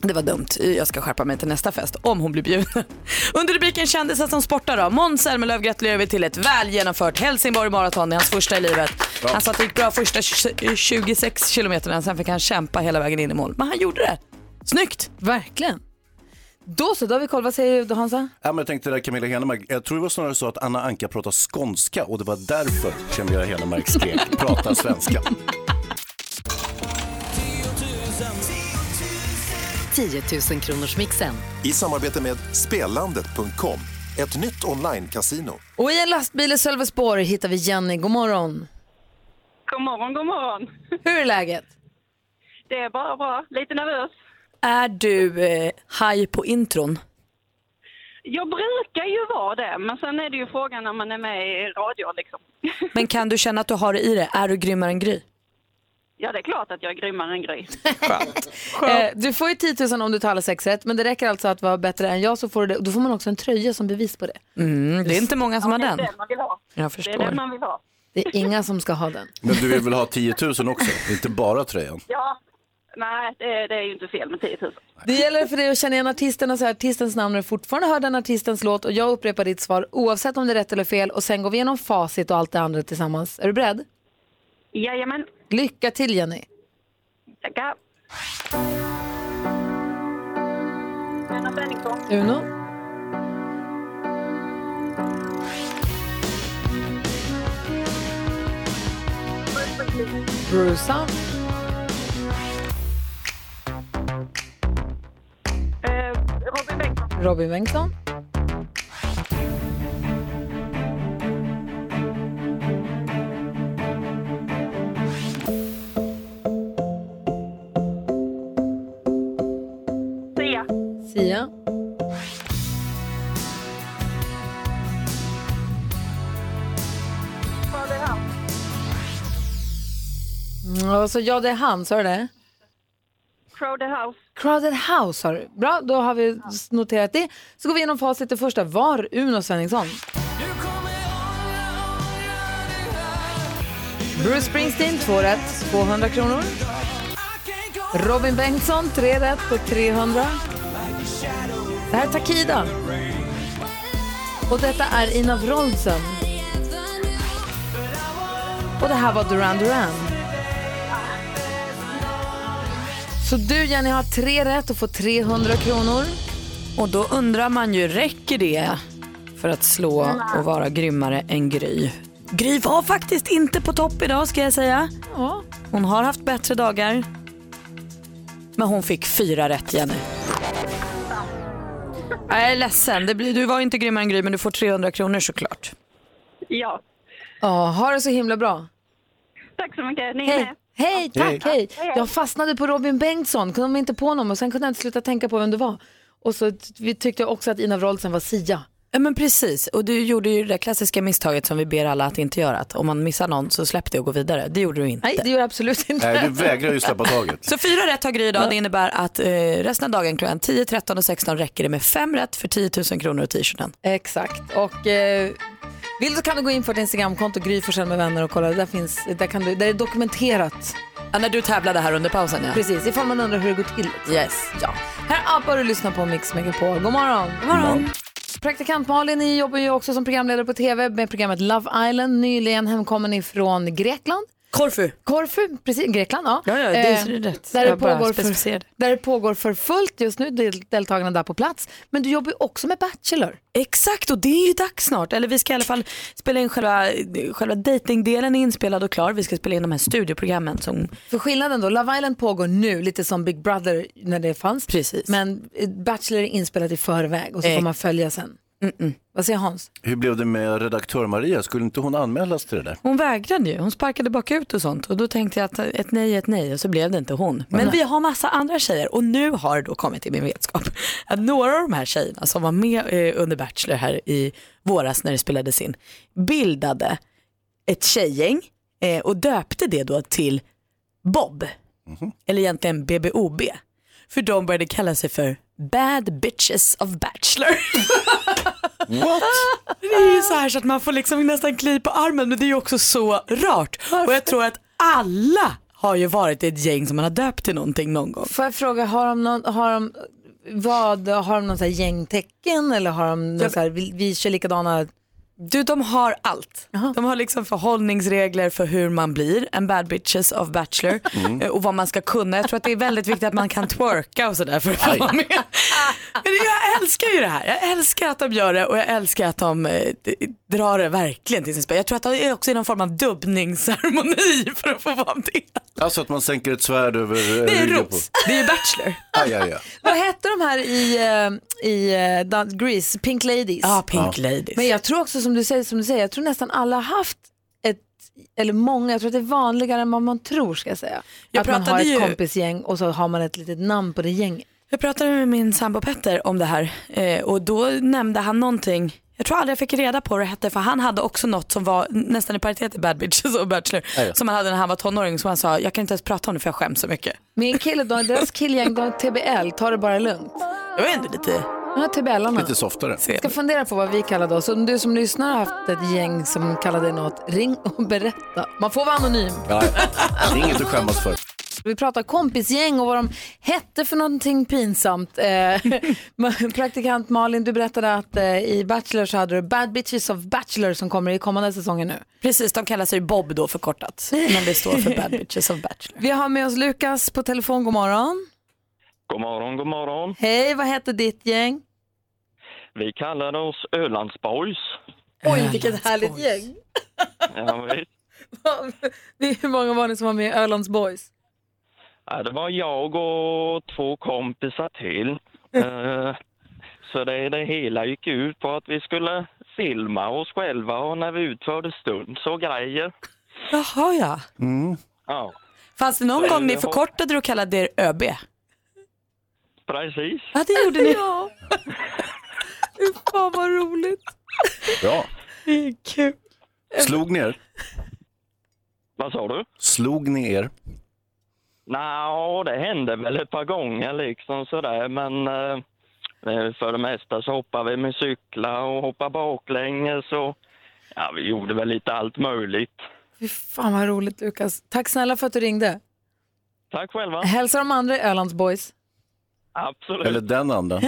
Speaker 2: Det var dumt. Jag ska skärpa mig till nästa fest, om hon blir bjuden. *laughs* Under rubriken kändisar som sportar då. Måns Zelmerlöw gratulerar vi till ett väl genomfört Helsingborg Marathon. Det är hans första i livet. Han sa att det gick bra första 20 26 kilometerna, sen fick han kämpa hela vägen in i mål. Men han gjorde det. Snyggt!
Speaker 1: Verkligen. Då så, då har vi koll. Vad säger du Hansa?
Speaker 3: Ja, men jag tänkte det där Camilla Henemark, jag tror det var snarare så att Anna Anka pratar skånska och det var därför Camilla Henemark skrek prata svenska.
Speaker 11: 10 000 kronors mixen.
Speaker 12: I samarbete med Spelandet.com, ett nytt online-casino.
Speaker 1: Och i en lastbil i Sölvesborg hittar vi Jenny. God morgon.
Speaker 6: God morgon, god morgon.
Speaker 1: Hur är läget?
Speaker 6: Det är bara bra. Lite nervös.
Speaker 2: Är du eh, haj på intron?
Speaker 6: Jag brukar ju vara det, men sen är det ju frågan när man är med i radio liksom.
Speaker 2: Men kan du känna att du har det i dig? Är du grymmare än Gry?
Speaker 6: *laughs* Ja, det är klart att jag är grymmare än Gry.
Speaker 1: Eh, du får ju 10 000 om du tar alla sex rätt, men det räcker alltså att vara bättre än jag så får du det. Då får man också en tröja som bevis på det.
Speaker 2: Mm, det är inte många som har
Speaker 6: Det är
Speaker 2: den.
Speaker 6: det man vill ha.
Speaker 2: Jag
Speaker 6: Det är det
Speaker 2: förstår.
Speaker 6: man vill ha.
Speaker 1: Det är inga som ska ha den.
Speaker 3: Men du vill väl ha 10 000 också, inte bara tröjan?
Speaker 6: Ja, nej, det, det är ju inte fel med 10 000.
Speaker 1: Det gäller för dig att känna igen artisten och säga artistens namn när du fortfarande hör den artistens låt och jag upprepar ditt svar oavsett om det är rätt eller fel och sen går vi igenom facit och allt det andra tillsammans. Är du beredd?
Speaker 6: Jajamän,
Speaker 1: Lycka till Jenny!
Speaker 6: tackar. Lennart Henriksson.
Speaker 1: Uno. Brusa.
Speaker 6: Eh, Robin Bengtsson.
Speaker 1: Robin Bengtsson.
Speaker 6: Sia.
Speaker 1: Sia.
Speaker 6: Ja, det är han.
Speaker 1: Mm, Alltså, ja, det är han, sa du det?
Speaker 6: Crowded House.
Speaker 1: Crowded House har du. Bra, då har vi s- noterat det. Så går vi igenom facit. Det första var Uno Svenningsson. Bruce Springsteen, 2 rätt, 200 kronor. Robin Bengtsson, 3 rätt på 300. Det här är Takida. Och detta är Ina Wroldsen. Och det här var Duran Duran. Så du Jenny har tre rätt och får 300 kronor.
Speaker 2: Och då undrar man ju, räcker det för att slå och vara grymmare än Gry? Gry var faktiskt inte på topp idag ska jag säga.
Speaker 1: Ja.
Speaker 2: Hon har haft bättre dagar. Men hon fick fyra rätt Jenny. Jag är ledsen, det blir, du var inte grymmare än Gry men du får 300 kronor såklart.
Speaker 6: Ja,
Speaker 1: Ja, ha det så himla bra.
Speaker 6: tack så mycket. Ni är
Speaker 1: Hej,
Speaker 6: med.
Speaker 1: hej tack, hej.
Speaker 6: Hej, hej.
Speaker 1: Jag fastnade på Robin Bengtsson, kunde inte på honom och sen kunde jag inte sluta tänka på vem det var. Och så t- vi tyckte jag också att Ina Wroldsen var Sia.
Speaker 2: Ja men precis, och du gjorde ju det där klassiska misstaget som vi ber alla att inte göra. Att om man missar någon så släpp det och gå vidare. Det gjorde du inte.
Speaker 1: Nej, det gör jag absolut inte.
Speaker 3: Nej, du vägrar ju släppa taget.
Speaker 2: Så fyra rätt har Gry idag. Det innebär att eh, resten av dagen klockan 10, 13 och 16 räcker det med fem rätt för 10 000 kronor och t-shirten.
Speaker 1: *laughs* Exakt. Och eh, vill du kan du gå in på ett Instagramkonto, Gry Forssell med vänner och kolla. Där, finns, där, kan du, där är dokumenterat.
Speaker 2: Ja, när du tävlade här under pausen ja.
Speaker 1: Precis, ifall man undrar hur det går till.
Speaker 2: Yes.
Speaker 1: Ja. Här appar du lyssnar på Mix Megapol. God morgon. God morgon. Praktikant Malin ni jobbar ju också som programledare på TV med programmet Love Island. Nyligen hemkommen ifrån Grekland.
Speaker 2: Korfu.
Speaker 1: Korfu, precis, Grekland, ja.
Speaker 2: Ja, ja, det är
Speaker 1: Eh,
Speaker 2: rätt.
Speaker 1: Där det,
Speaker 2: Jag bara
Speaker 1: pågår för,
Speaker 2: specificerade.
Speaker 1: där det pågår för fullt just nu, del- deltagarna där på plats. Men du jobbar ju också med Bachelor.
Speaker 2: Exakt och det är ju dags snart. Eller vi ska i alla fall spela in själva, själva datingdelen är inspelad och klar. Vi ska spela in de här studioprogrammen som
Speaker 1: För skillnaden då, Love Island pågår nu, lite som Big Brother när det fanns.
Speaker 2: Precis.
Speaker 1: Men eh, Bachelor är inspelat i förväg och så får
Speaker 2: Eh.
Speaker 1: man följa sen. Vad säger Hans?
Speaker 3: Hur blev det med redaktör Maria? Skulle inte hon anmälas till det där?
Speaker 2: Hon vägrade ju, hon sparkade bakut och sånt och då tänkte jag att ett nej är ett nej och så blev det inte hon. Men vi har massa andra tjejer och nu har det då kommit till min vetskap *laughs* att några av de här tjejerna som var med eh, under Bachelor här i våras när det spelades in bildade ett tjejgäng eh, och döpte det då till Bob, eller egentligen BBOB. För de började kalla sig för Bad Bitches of Bachelor.
Speaker 3: What?
Speaker 2: Det är ju så här så att man får liksom nästan kli på armen men det är ju också så rart. Och jag tror att alla har har ju varit ett gäng som man har döpt till någonting någon gång.
Speaker 1: Får jag fråga, har de, någon, har de, vad, har de någon så här gängtecken eller har de någon så här, vi, vi kör likadana?
Speaker 2: Du, de har allt. De har liksom förhållningsregler för hur man blir en bad bitches av Bachelor
Speaker 5: Mm.
Speaker 2: eh, och vad man ska kunna. Jag tror att det är väldigt viktigt att man kan twerka och sådär för att få vara med. Men jag älskar ju det här. Jag älskar att de gör det och jag älskar att de eh, d- drar det verkligen till sin spets. Jag tror att det är också någon form av dubbningsceremoni *laughs* för att få vara med.
Speaker 3: Alltså att man sänker ett svärd över eh,
Speaker 2: Det är
Speaker 3: ryggen på...
Speaker 2: Roots, det är ju Bachelor.
Speaker 3: Aj, aj, aj.
Speaker 1: Vad hette de här i, eh, i eh, Dan- Grease? Pink Ladies?
Speaker 2: *laughs* Ja, Pink Ja. Ladies.
Speaker 1: Men jag tror också som du säger, som du säger jag tror nästan alla har haft ett, eller många, jag tror att det är vanligare än vad man tror ska jag säga.
Speaker 2: Jag
Speaker 1: att man har
Speaker 2: pratade
Speaker 1: ett
Speaker 2: ju-
Speaker 1: kompisgäng och så har man ett litet namn på det gänget.
Speaker 2: Jag pratade med min sambo Petter om det här eh, och då nämnde han någonting. Jag tror aldrig jag fick reda på vad det hette för han hade också något som var nästan i paritet till Bad Bitches och Bachelor.
Speaker 1: Ja, ja.
Speaker 2: Som han hade när han var tonåring som han sa, jag kan inte ens prata om det för jag skäms så mycket.
Speaker 1: Min kille, de, deras killgäng, de har TBL, ta det bara lugnt.
Speaker 2: Det var ändå lite...
Speaker 1: Ja, TBL-arna.
Speaker 3: Lite softare.
Speaker 1: Jag ska fundera på vad vi kallade oss. Om du som lyssnar har haft ett gäng som kallade dig något, ring och berätta. Man får vara anonym.
Speaker 3: Ja, ja. Det är inget att skämmas för.
Speaker 1: Vi pratar kompisgäng och vad de hette för någonting pinsamt. Eh, *laughs* praktikant Malin, du berättade att eh, i Bachelor så hade du Bad Bitches of Bachelor som kommer i kommande säsongen nu.
Speaker 2: Precis, de kallar sig Bob då förkortat. Men det står för Bad Bitches of Bachelor.
Speaker 1: Vi har med oss Lukas på telefon, god morgon.
Speaker 13: God morgon, god morgon.
Speaker 1: Hej, vad hette ditt gäng?
Speaker 13: Vi kallar oss Ölandsboys.
Speaker 1: Oj, vilket härligt gäng.
Speaker 13: Ja, visst.
Speaker 1: *laughs* Det är Hur många var ni som var med i Ölands Boys?
Speaker 13: ja, det var jag och två kompisar till. Eh, Så det, det hela gick ut på att vi skulle filma oss själva och när vi utförde stunts och grejer.
Speaker 2: *laughs* Jaha ja.
Speaker 3: Mm.
Speaker 13: Ja,
Speaker 2: Fanns det någon
Speaker 13: Nej,
Speaker 2: gång ni
Speaker 13: jag-
Speaker 2: förkortade det och kallade er ÖB?
Speaker 13: precis.
Speaker 2: *laughs* Ja det gjorde ni.
Speaker 1: ja. Fy fan vad roligt.
Speaker 3: Bra.
Speaker 1: Det är kul.
Speaker 3: Slog ni er?
Speaker 13: Vad sa du?
Speaker 3: Slog ni er?
Speaker 13: Nå, det hände väl ett par gånger liksom sådär, men eh, eh, för det mesta så hoppar vi med cyklar och hoppar baklänges och ja, vi gjorde väl lite allt möjligt.
Speaker 1: Fy fan vad roligt Lukas. Tack snälla för att du ringde.
Speaker 13: Tack själva.
Speaker 1: Hälsa de andra i Ölands Boys.
Speaker 13: Absolut.
Speaker 3: Eller den andra?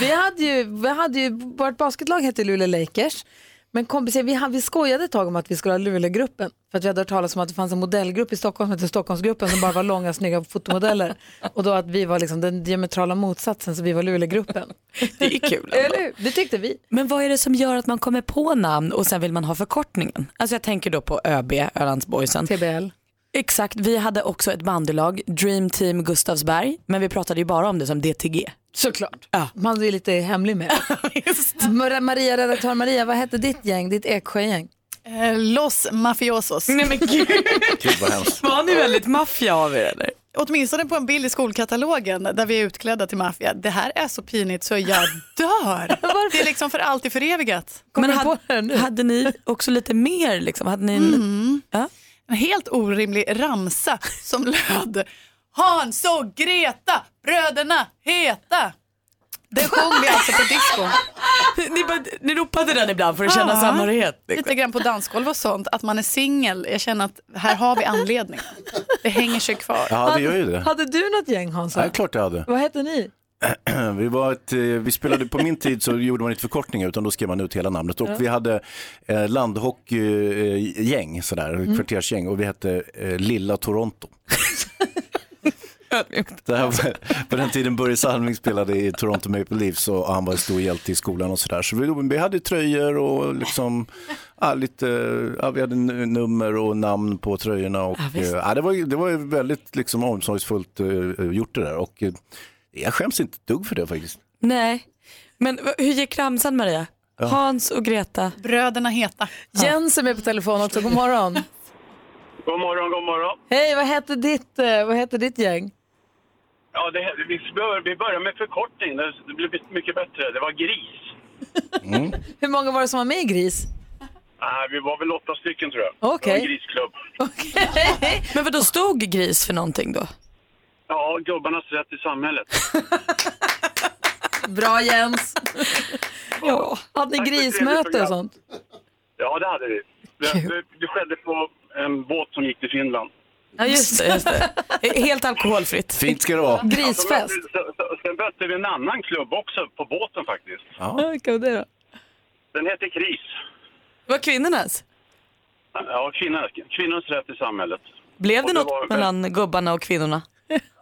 Speaker 1: Vi hade ju, vi hade ju vårt basketlag hette Luleå Lakers. Men kompisar, vi, ha- vi skojade ett tag om att vi skulle ha Luleågruppen. För att vi hade hört talas om att det fanns en modellgrupp i Stockholm som hette Stockholmsgruppen som bara var långa snygga fotomodeller. Och då att vi var liksom den diametrala motsatsen så vi var Luleågruppen.
Speaker 2: Det är kul.
Speaker 1: Eller hur? Det tyckte vi.
Speaker 2: Men vad är det som gör att man kommer på namn och sen vill man ha förkortningen? Alltså jag tänker då på ÖB, Ölandsboysen.
Speaker 1: TBL.
Speaker 2: Exakt, vi hade också ett bandylag, Dream Team Gustavsberg, men vi pratade ju bara om det som DTG.
Speaker 1: Såklart. Man är lite hemlig *laughs* med. Mar- Maria, redaktör Maria, vad hette ditt gäng, ditt Eksjögäng?
Speaker 14: Eh, Los Mafiosos.
Speaker 2: Nej men gud.
Speaker 3: Gud vad hemskt.
Speaker 2: Var ni väldigt maffia av er eller?
Speaker 14: Åtminstone på en bild i skolkatalogen där vi är utklädda till maffia. Det här är så pinigt så jag dör. Det är liksom för alltid förevigat.
Speaker 2: Men hade, hade ni också lite mer liksom? Hade ni en...
Speaker 14: En helt orimlig ramsa som löd Hans och Greta, bröderna heta. Det sjöng vi alltså på disco.
Speaker 2: ni, bara, ni ropade den ibland för att känna
Speaker 14: Ja,
Speaker 2: samhörighet? liksom.
Speaker 14: Lite grann på dansgolv och sånt, att man är singel. Jag känner att här har vi anledning. Det hänger sig kvar.
Speaker 3: Ja, det gör ju det.
Speaker 1: Hade du något gäng Hansa?
Speaker 3: Ja, klart jag hade.
Speaker 1: Vad hette ni?
Speaker 3: Vi, var ett, eh, vi spelade, på min tid så gjorde man inte förkortningar utan då skrev man ut hela namnet. Och
Speaker 1: Ja.
Speaker 3: vi hade eh, landhockeygäng, eh, sådär,
Speaker 2: Mm.
Speaker 3: kvartersgäng och vi hette eh,
Speaker 2: *laughs*
Speaker 3: Lilla Toronto. Det här var, på den tiden Börje Salming spelade i Toronto Maple Leafs och han var en stor hjälte i skolan och sådär. Så vi, vi hade tröjor och liksom, ja, lite, ja, vi hade n- nummer och namn på tröjorna. Och,
Speaker 2: Ja,
Speaker 3: eh,
Speaker 2: visst.
Speaker 3: ja, det, var, ju- det var ju väldigt liksom, omsorgsfullt eh, gjort det där. Och, eh, jag skäms inte ett dugg för det faktiskt.
Speaker 2: Nej, men v- hur gick ramsan Maria?
Speaker 3: Ja.
Speaker 2: Hans och Greta?
Speaker 14: Bröderna heta.
Speaker 1: Jens är med på telefon också, god *laughs* morgon.
Speaker 15: God morgon, god morgon.
Speaker 1: Hej, vad hette ditt, eh, vad hette ditt gäng?
Speaker 15: Ja, det, vi, bör, vi börjar med förkortning. Det, det blev mycket bättre. Det var gris.
Speaker 1: Hur många var det som var med i Gris?
Speaker 15: Nej, vi var väl åtta stycken, tror jag.
Speaker 1: Okej.
Speaker 15: Det var en grisklubb.
Speaker 2: Men vad då stod gris för någonting då?
Speaker 15: Ja, gubbarnas rätt i samhället.
Speaker 1: Bra Jens! ja, hade ni
Speaker 15: Tack för ett trevligt
Speaker 1: grismöte
Speaker 15: program.
Speaker 1: och sånt?
Speaker 15: Ja, det hade vi. Det, det, det skedde på en båt som gick till Finland.
Speaker 2: Ja, just det. Just det. *laughs* Helt alkoholfritt.
Speaker 3: Fint ska det vara.
Speaker 15: Alltså, men- så- så- Sen mötte vi en annan klubb också på båten faktiskt.
Speaker 2: Ja, vilka var det då?
Speaker 15: Den heter KRIS.
Speaker 2: Det var kvinnornas.
Speaker 15: Ja, kvinnor, kvinnors rätt i samhället.
Speaker 2: Blev
Speaker 15: Och
Speaker 2: det något
Speaker 15: var-
Speaker 2: mellan gubbarna och kvinnorna?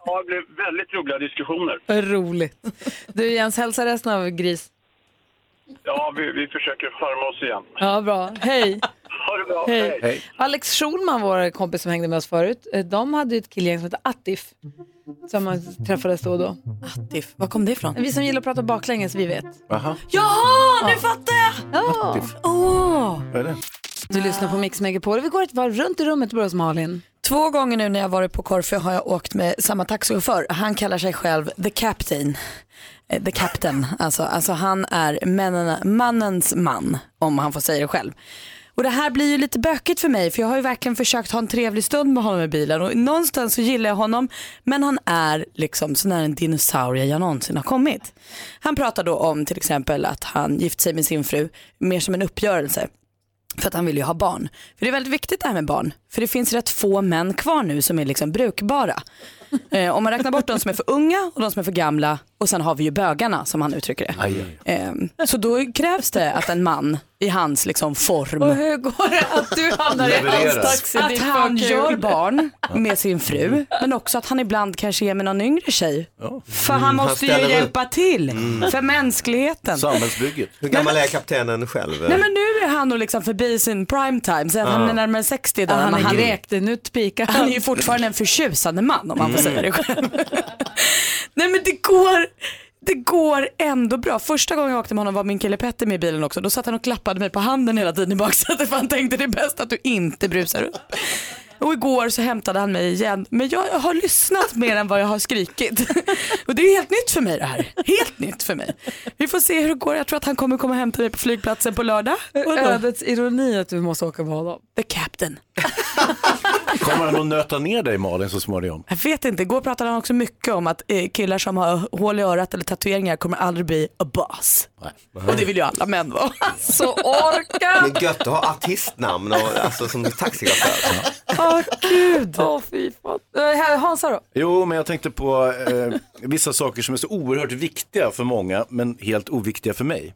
Speaker 15: Ja, det blev väldigt roliga diskussioner.
Speaker 1: Roligt. Du Jens, hälsa resten av Gris.
Speaker 15: Ja, vi, vi försöker skärma oss igen.
Speaker 1: Ja, bra. Hej.
Speaker 15: Ha det bra.
Speaker 1: Hej. Alex Schulman, vår kompis som hängde med oss förut, eh, de hade ju ett killgäng som hette Attif. Som man träffades då och då.
Speaker 2: Attif, var kom det ifrån?
Speaker 1: Vi som gillar att prata baklänges, vi vet.
Speaker 3: Aha.
Speaker 1: Jaha,
Speaker 2: nu fattar jag!
Speaker 1: Ja.
Speaker 3: Attif.
Speaker 1: Åh.
Speaker 3: Vad är det?
Speaker 1: Du lyssnar på Mix Megapol. Vi går ett varv runt i rummet och börjar hos Malin.
Speaker 2: Två gånger nu när jag varit på Korfu har jag åkt med samma taxichaufför. Han kallar sig själv the captain. Eh, The captain, alltså, alltså han är männen, mannens man om han får säga det själv. Och det här blir ju lite bökigt för mig för jag har ju verkligen försökt ha en trevlig stund med honom i bilen och någonstans så gillar jag honom men han är liksom så nära en dinosaurie jag någonsin har kommit. Han pratar då om till exempel att han gift sig med sin fru mer som en uppgörelse. För att han vill ju ha barn. För det är väldigt viktigt det här med barn. För det finns rätt få män kvar nu som är liksom brukbara. Eh, om man räknar bort de som är för unga och de som är för gamla och sen har vi ju bögarna som han uttrycker det. Ehm, så då krävs det att en man i hans liksom form.
Speaker 1: Och hur går det att du hamnar i hans
Speaker 2: Levereras.
Speaker 1: taxi? Det är
Speaker 2: Att
Speaker 1: fan
Speaker 2: han
Speaker 1: kul.
Speaker 2: gör barn med sin fru men också att han ibland kanske är med någon yngre tjej. För han
Speaker 16: Mm, han
Speaker 2: måste
Speaker 16: ställer Mm.
Speaker 2: ju
Speaker 16: upp.
Speaker 2: hjälpa till för mänskligheten.
Speaker 16: Samhällsbygget. Hur gammal är kaptenen själv?
Speaker 2: Nej men nu är han nog liksom förbi sin prime time, sen
Speaker 16: Ja.
Speaker 2: han är närmare 60
Speaker 1: Ja,
Speaker 2: där.
Speaker 1: han
Speaker 2: men
Speaker 1: är grek, det nu pikar han.
Speaker 2: Han är ju fortfarande en förtjusande man om man får
Speaker 16: Mm.
Speaker 2: säga det själv. *laughs* Nej men det går, det går ändå bra. Första gången jag åkte med honom var min kille Petter med i bilen också. Då satt han och klappade mig på handen hela tiden i baksätet för han tänkte det är bäst att du inte brusar upp. Och igår så hämtade han mig igen. Men jag har lyssnat mer än vad jag har skrikit. *laughs* Och det är helt nytt för mig det här. Helt nytt för mig. Vi får se hur det går. Jag tror att han kommer komma och hämta mig på flygplatsen på lördag. Och då-
Speaker 1: Ödets ironi att du måste åka med honom.
Speaker 2: The captain.
Speaker 3: Kommer han att nöta ner dig Malin så småningom?
Speaker 2: Jag vet inte, igår pratade han också mycket om att eh, killar som har hål i örat eller tatueringar kommer aldrig bli a boss. Och det vill ju alla män
Speaker 16: *laughs*
Speaker 2: vara.
Speaker 1: Så orka!
Speaker 16: Det är gött att ha artistnamn och, alltså, som taxichaufför.
Speaker 1: Åh gud! *laughs* Åh fy fan. Eh, här, Hansa då?
Speaker 3: Jo, men jag tänkte på eh, vissa saker som är så oerhört viktiga för många, men helt oviktiga för mig.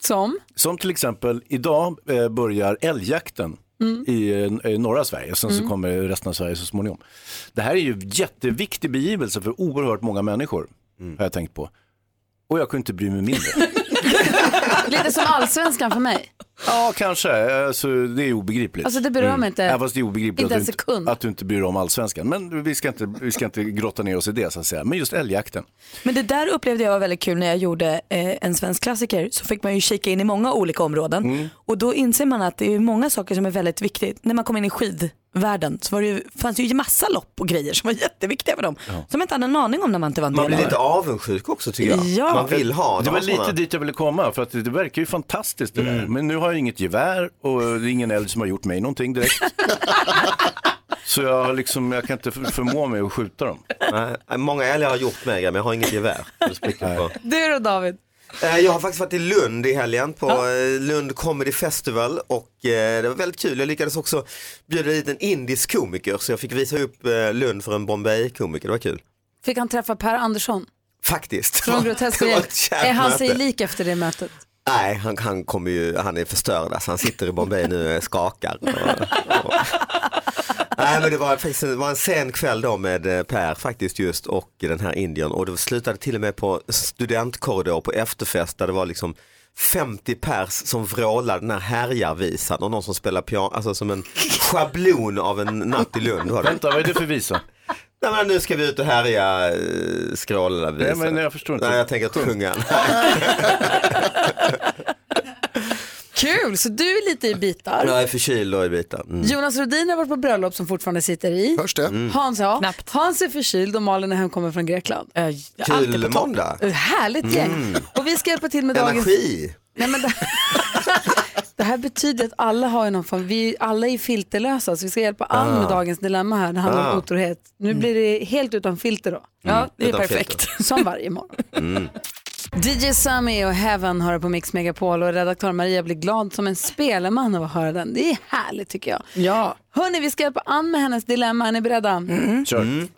Speaker 1: Som?
Speaker 3: Som till exempel, idag eh, börjar älgjakten
Speaker 1: Mm.
Speaker 3: i eh, norra Sverige, sen
Speaker 1: Mm.
Speaker 3: så kommer resten av Sverige så småningom. Det här är ju jätteviktig begivelse för oerhört många människor, har jag tänkt på. Och jag kunde inte bry mig mindre.
Speaker 1: Lite som allsvenskan för mig.
Speaker 3: ja, kanske. Alltså, det är obegripligt.
Speaker 1: Alltså, det berör mig inte.
Speaker 3: Ja, fast det är obegripligt
Speaker 1: Inte
Speaker 3: att,
Speaker 1: en
Speaker 3: du
Speaker 1: sekund.
Speaker 3: inte, att du inte bryr dig om allsvenskan. Men vi ska, inte, vi ska inte grotta ner oss i det, så att säga. Men just älgjakten.
Speaker 2: Men det där upplevde jag var väldigt kul när jag gjorde eh, en svensk klassiker så fick man ju kika in i många olika områden
Speaker 16: Mm.
Speaker 2: och då inser man att det är många saker som är väldigt viktigt. När man kom in i skidvärlden så var det ju, fanns det ju massa lopp och grejer som var jätteviktiga för dem som man inte hade en aning om när man inte var en
Speaker 16: Man
Speaker 2: del
Speaker 16: blir
Speaker 2: av
Speaker 16: lite
Speaker 2: det.
Speaker 16: avundsjuk också tycker jag.
Speaker 2: Ja.
Speaker 16: Man vill ha
Speaker 3: Det var Mm.
Speaker 16: några
Speaker 3: lite
Speaker 16: sådana.
Speaker 3: dit jag ville komma, för att det, det verkar ju fantastiskt det där. Men nu har jag inget gevär och det är ingen älg som har gjort mig någonting *laughs* direkt. Så jag, har liksom, jag kan inte för- förmå mig att skjuta dem.
Speaker 16: Nej, många älgar har gjort mig men jag har inget gevär. Det spricker på.
Speaker 1: Du då David?
Speaker 16: Eh, Jag har faktiskt varit i Lund i helgen på eh, Lund Comedy Festival och eh, det var väldigt kul. Jag lyckades också bjuda dit en indisk komiker så jag fick visa upp eh, Lund för en Bombay-komiker. Det var kul.
Speaker 1: Fick han träffa Per Andersson
Speaker 16: Faktiskt.
Speaker 1: från Grotesk
Speaker 16: Det var ett
Speaker 1: Hjälp?
Speaker 16: kärt
Speaker 1: Är han
Speaker 16: möte.
Speaker 1: sig lik efter det mötet?
Speaker 16: Nej, han, han, kommer ju, han är förstörd. Alltså, han sitter i Bombay nu och skakar. Och, och. Nej, men det, var, faktiskt- det var en sen kväll då med eh, Per faktiskt just och den här indiern och det slutade till och med på studentkorridor på efterfest där det var liksom 50 pers som vrålade den här härjarvisan och någon som spelar piano, alltså som en schablon av en natt i Lund. Var det.
Speaker 3: Vänta, vad är det för visa?
Speaker 16: Nej men nu ska vi ut och härja, eh, skråla visa.
Speaker 3: Nej, men jag förstår inte.
Speaker 16: Nej, jag tänker att sjunga.
Speaker 1: Kul, så du är lite i bitar.
Speaker 16: Jag är förkyld och i bitar. Mm.
Speaker 1: Jonas Rodin har varit på bröllop som fortfarande sitter i.
Speaker 16: Hörs det? Mm.
Speaker 1: Hans, ja. Hans är förkyld och Malin är hemkommen från Grekland.
Speaker 16: Kul måndag.
Speaker 1: Ett Härligt gäng.
Speaker 16: Mm.
Speaker 1: Och vi ska hjälpa till med dagens...
Speaker 16: Energi.
Speaker 1: Nej, men det... det här *laughs* betyder att alla har ju någon form, vi alla är filterlösa så vi ska hjälpa Ann
Speaker 2: Ah.
Speaker 1: med dagens dilemma här, det handlar
Speaker 2: Ah.
Speaker 1: om otrohet. Nu blir det helt utan filter då.
Speaker 2: Ja, det är Utan perfekt. Mm.
Speaker 1: Som varje morgon. DJ Sammy och Heaven har det på Mix Megapol och redaktör Maria blir glad som en spelman av att höra den. Det är härligt tycker jag.
Speaker 2: Ja.
Speaker 1: Hörni, vi ska hjälpa Ann med hennes dilemma. Är ni beredda?
Speaker 3: Kör.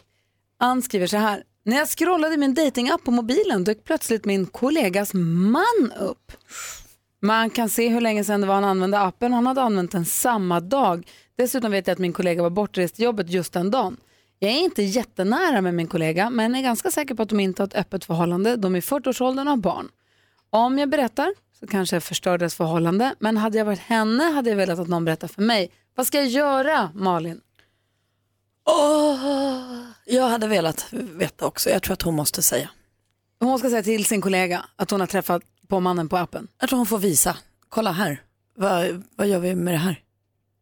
Speaker 1: Ann skriver så här. När jag scrollade i min datingapp på mobilen dök plötsligt min kollegas man upp. Man kan se hur länge sedan det var han använde appen och han hade använt den samma dag. Dessutom vet jag att min kollega var bortrest till jobbet just den dagen. Jag är inte jättenära med min kollega men är ganska säker på att de inte har ett öppet förhållande. De är i 40-årsåldern och har barn. Om jag berättar så kanske jag förstör deras förhållande men hade jag varit henne hade jag velat att någon berättar för mig. Vad ska jag göra Malin?
Speaker 2: Åh, jag hade velat veta också. Jag tror att hon måste säga.
Speaker 1: Hon ska säga till sin kollega att hon har träffat på mannen på appen.
Speaker 2: Jag tror hon får visa. Kolla här. Vad, vad gör vi med det här?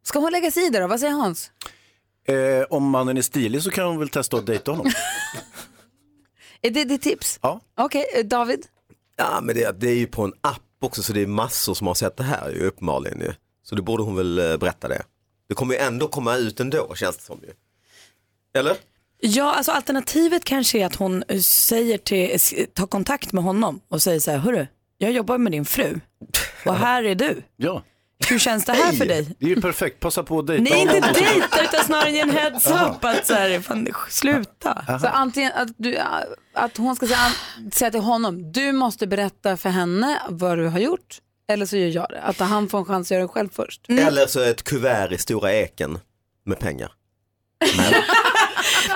Speaker 1: Ska hon lägga sig i det då? Vad säger Hans?
Speaker 3: Eh, om mannen är stilig så kan hon väl testa att dejta honom.
Speaker 1: Är det ditt tips?
Speaker 3: Ja.
Speaker 1: Okej, eh, David?
Speaker 16: Ja men det, det är ju på en app också så det är massor som har sett det här ju uppenbarligen ju. Så då borde hon väl eh, berätta det. Det kommer ju ändå komma ut ändå känns det som ju. Eller?
Speaker 2: Ja, alltså alternativet kanske är att hon eh, säger till, s- tar kontakt med honom och säger så här, hörru, jag jobbar med din fru och här är du.
Speaker 3: *laughs* Ja.
Speaker 2: Hur känns det här
Speaker 3: Hej!
Speaker 2: för dig?
Speaker 3: Det är ju perfekt, passa på att dejta
Speaker 2: Nej, inte
Speaker 3: honom.
Speaker 2: dejta utan snarare ge en heads
Speaker 3: Jaha.
Speaker 2: up att så här, fan, sluta.
Speaker 1: Så antingen att, du, eh, att hon ska säga, säga till honom, du måste berätta för henne vad du har gjort, eller så gör jag det. Att han får en chans att göra det själv först.
Speaker 2: Mm.
Speaker 16: Eller så ett kuvert i Stora Eken med pengar.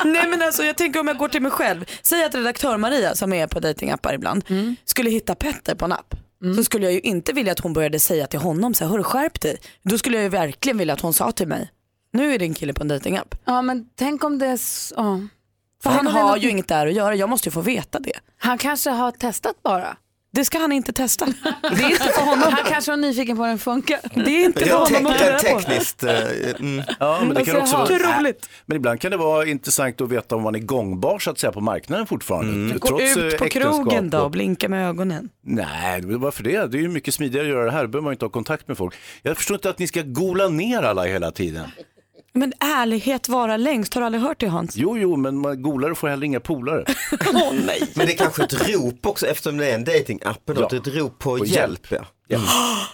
Speaker 2: Nej men alltså jag tänker om jag går till mig själv. Säg att redaktör Maria som är på datingappar ibland skulle hitta Petter på en app. Så skulle jag ju inte vilja att hon började säga till honom så här, hörru skärp dig. Då skulle jag ju verkligen vilja att hon sa till mig, nu är din kille på en datingapp.
Speaker 1: Ja, men tänk om det är så, ja.
Speaker 2: För
Speaker 1: Tänk
Speaker 2: han
Speaker 1: om det är
Speaker 2: har
Speaker 1: något-
Speaker 2: ju inget där att göra, jag måste ju få veta det.
Speaker 1: Han kanske har testat bara.
Speaker 2: Det ska han inte testa.
Speaker 1: Det är inte för honom. Han kanske var nyfiken på hur den funkar.
Speaker 2: Det är inte
Speaker 1: för
Speaker 16: *laughs* Ja,
Speaker 1: honom att
Speaker 16: tek-
Speaker 1: ta reda på.
Speaker 16: tekniskt. eh, Mm.
Speaker 3: Ja, men det
Speaker 1: Alltså,
Speaker 3: kan också
Speaker 1: jaha.
Speaker 3: vara... Äh,
Speaker 1: Så roligt.
Speaker 3: Men ibland kan det vara intressant att veta om man är gångbar så att säga på marknaden fortfarande.
Speaker 2: Mm. Gå
Speaker 3: eh,
Speaker 2: ut på
Speaker 3: äktenskap
Speaker 2: krogen då
Speaker 3: och-
Speaker 2: och blinka med ögonen.
Speaker 3: Nej, det- varför det? Det är ju mycket smidigare att göra det här. Då behöver man ju inte ha kontakt med folk. Jag förstår inte att ni ska gola ner alla hela tiden.
Speaker 2: Men ärlighet vara längst, har du aldrig hört det Hans?
Speaker 3: Jo, jo, men man golare får heller inga polare.
Speaker 16: Men det är kanske ett rop också eftersom det är en datingapp. Ja. Ett rop på, hjälp. ja.
Speaker 2: Mm.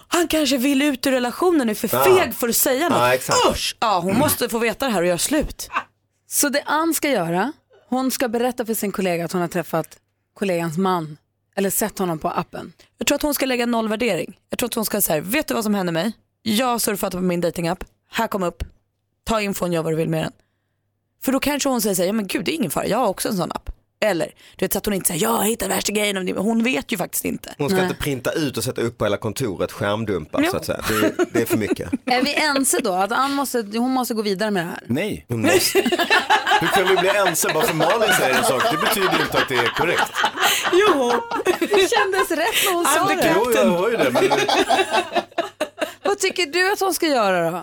Speaker 2: Han kanske vill ut ur relationen, är för
Speaker 16: Ja.
Speaker 2: feg för att säga något.
Speaker 16: Ja, exakt.
Speaker 2: Usch! Ja, hon måste få veta det här och göra slut.
Speaker 1: Så det Ann ska göra, hon ska berätta för sin kollega att hon har träffat kollegans man, eller sett honom på appen.
Speaker 2: Jag tror att hon ska lägga en nollvärdering. Jag tror att hon ska säga, vet du vad som hände mig? Jag surfade på min datingapp. här kom upp, ta infon, gör vad du vill med den. För då kanske hon säger så här, ja men gud det är ingen fara, jag har också en sån app. Eller, du vet så att hon inte säger, jag hittade värsta grejen om det. Hon vet ju faktiskt inte.
Speaker 16: Hon ska inte printa ut och sätta upp på hela kontoret, skärmdumpa
Speaker 2: Ja.
Speaker 16: så att säga. Det, det är för mycket.
Speaker 1: Är vi ense då att Ann måste, hon måste gå vidare med det här?
Speaker 3: Nej.
Speaker 2: Mm.
Speaker 16: Hon måste-
Speaker 3: Hur kan vi bli ense bara för Malin säger en sak? Det betyder inte att det är korrekt.
Speaker 2: Jo!
Speaker 1: Det kändes rätt när hon sa
Speaker 2: I'm the
Speaker 1: det.
Speaker 3: Jo, jag hör ju det. Men...
Speaker 1: Vad tycker du att hon ska göra då?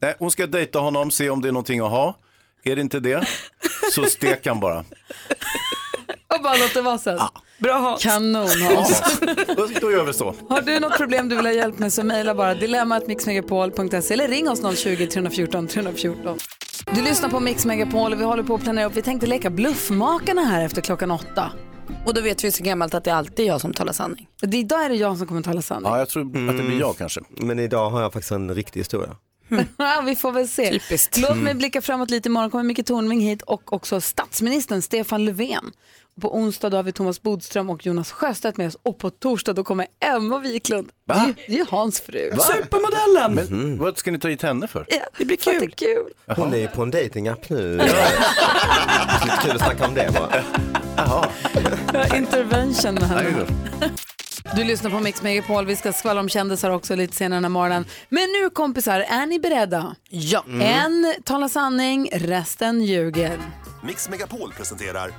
Speaker 3: Nej, hon ska dejta honom, se om det är någonting att ha. Är det inte det, så stek han bara.
Speaker 1: Och bara låt det vara sen.
Speaker 2: Bra Hans.
Speaker 1: Kanon Hans.
Speaker 3: Då, då gör vi så.
Speaker 1: Har du något problem du vill ha hjälp med så mejla bara dilemmatmixmegapol.se eller ring oss 020 314 314. Du lyssnar på Mix Megapol och vi håller på att planera upp. Vi tänkte leka Bluffmakarna här efter klockan åtta.
Speaker 2: Och då vet vi så gammalt att det alltid är jag som talar sanning.
Speaker 1: Det, idag är det jag som kommer tala sanning.
Speaker 3: Ja, jag tror att det blir jag kanske.
Speaker 16: Men idag har jag faktiskt en riktig historia.
Speaker 1: *laughs* Ja, vi får väl se.
Speaker 16: Typiskt.
Speaker 1: Låt mig
Speaker 16: Mm.
Speaker 1: blicka framåt lite. Imorgon kommer Micke Tornving hit och också statsministern Stefan Löfven. På onsdag då har vi Thomas Bodström och Jonas Sjöstedt med oss och på torsdag då kommer Emma Wiklund. Det är ju- det är ju Hans fru.
Speaker 2: Supermodellen!
Speaker 3: Men, vad ska ni ta hit henne för?
Speaker 1: Ja,
Speaker 2: det blir kul.
Speaker 1: Det är kul.
Speaker 16: Hon är ju på en datingapp nu. *laughs* Lite kul att snacka om det bara.
Speaker 1: Ja, Intervention med
Speaker 3: Nej,
Speaker 1: henne.
Speaker 3: då.
Speaker 1: Du lyssnar på Mix Megapol. Vi ska skvallra om kändisar också lite senare den här morgonen. Men nu kompisar, är ni beredda? Ja.
Speaker 12: Mm.
Speaker 1: En talar sanning, resten ljuger.
Speaker 12: Mix Megapol presenterar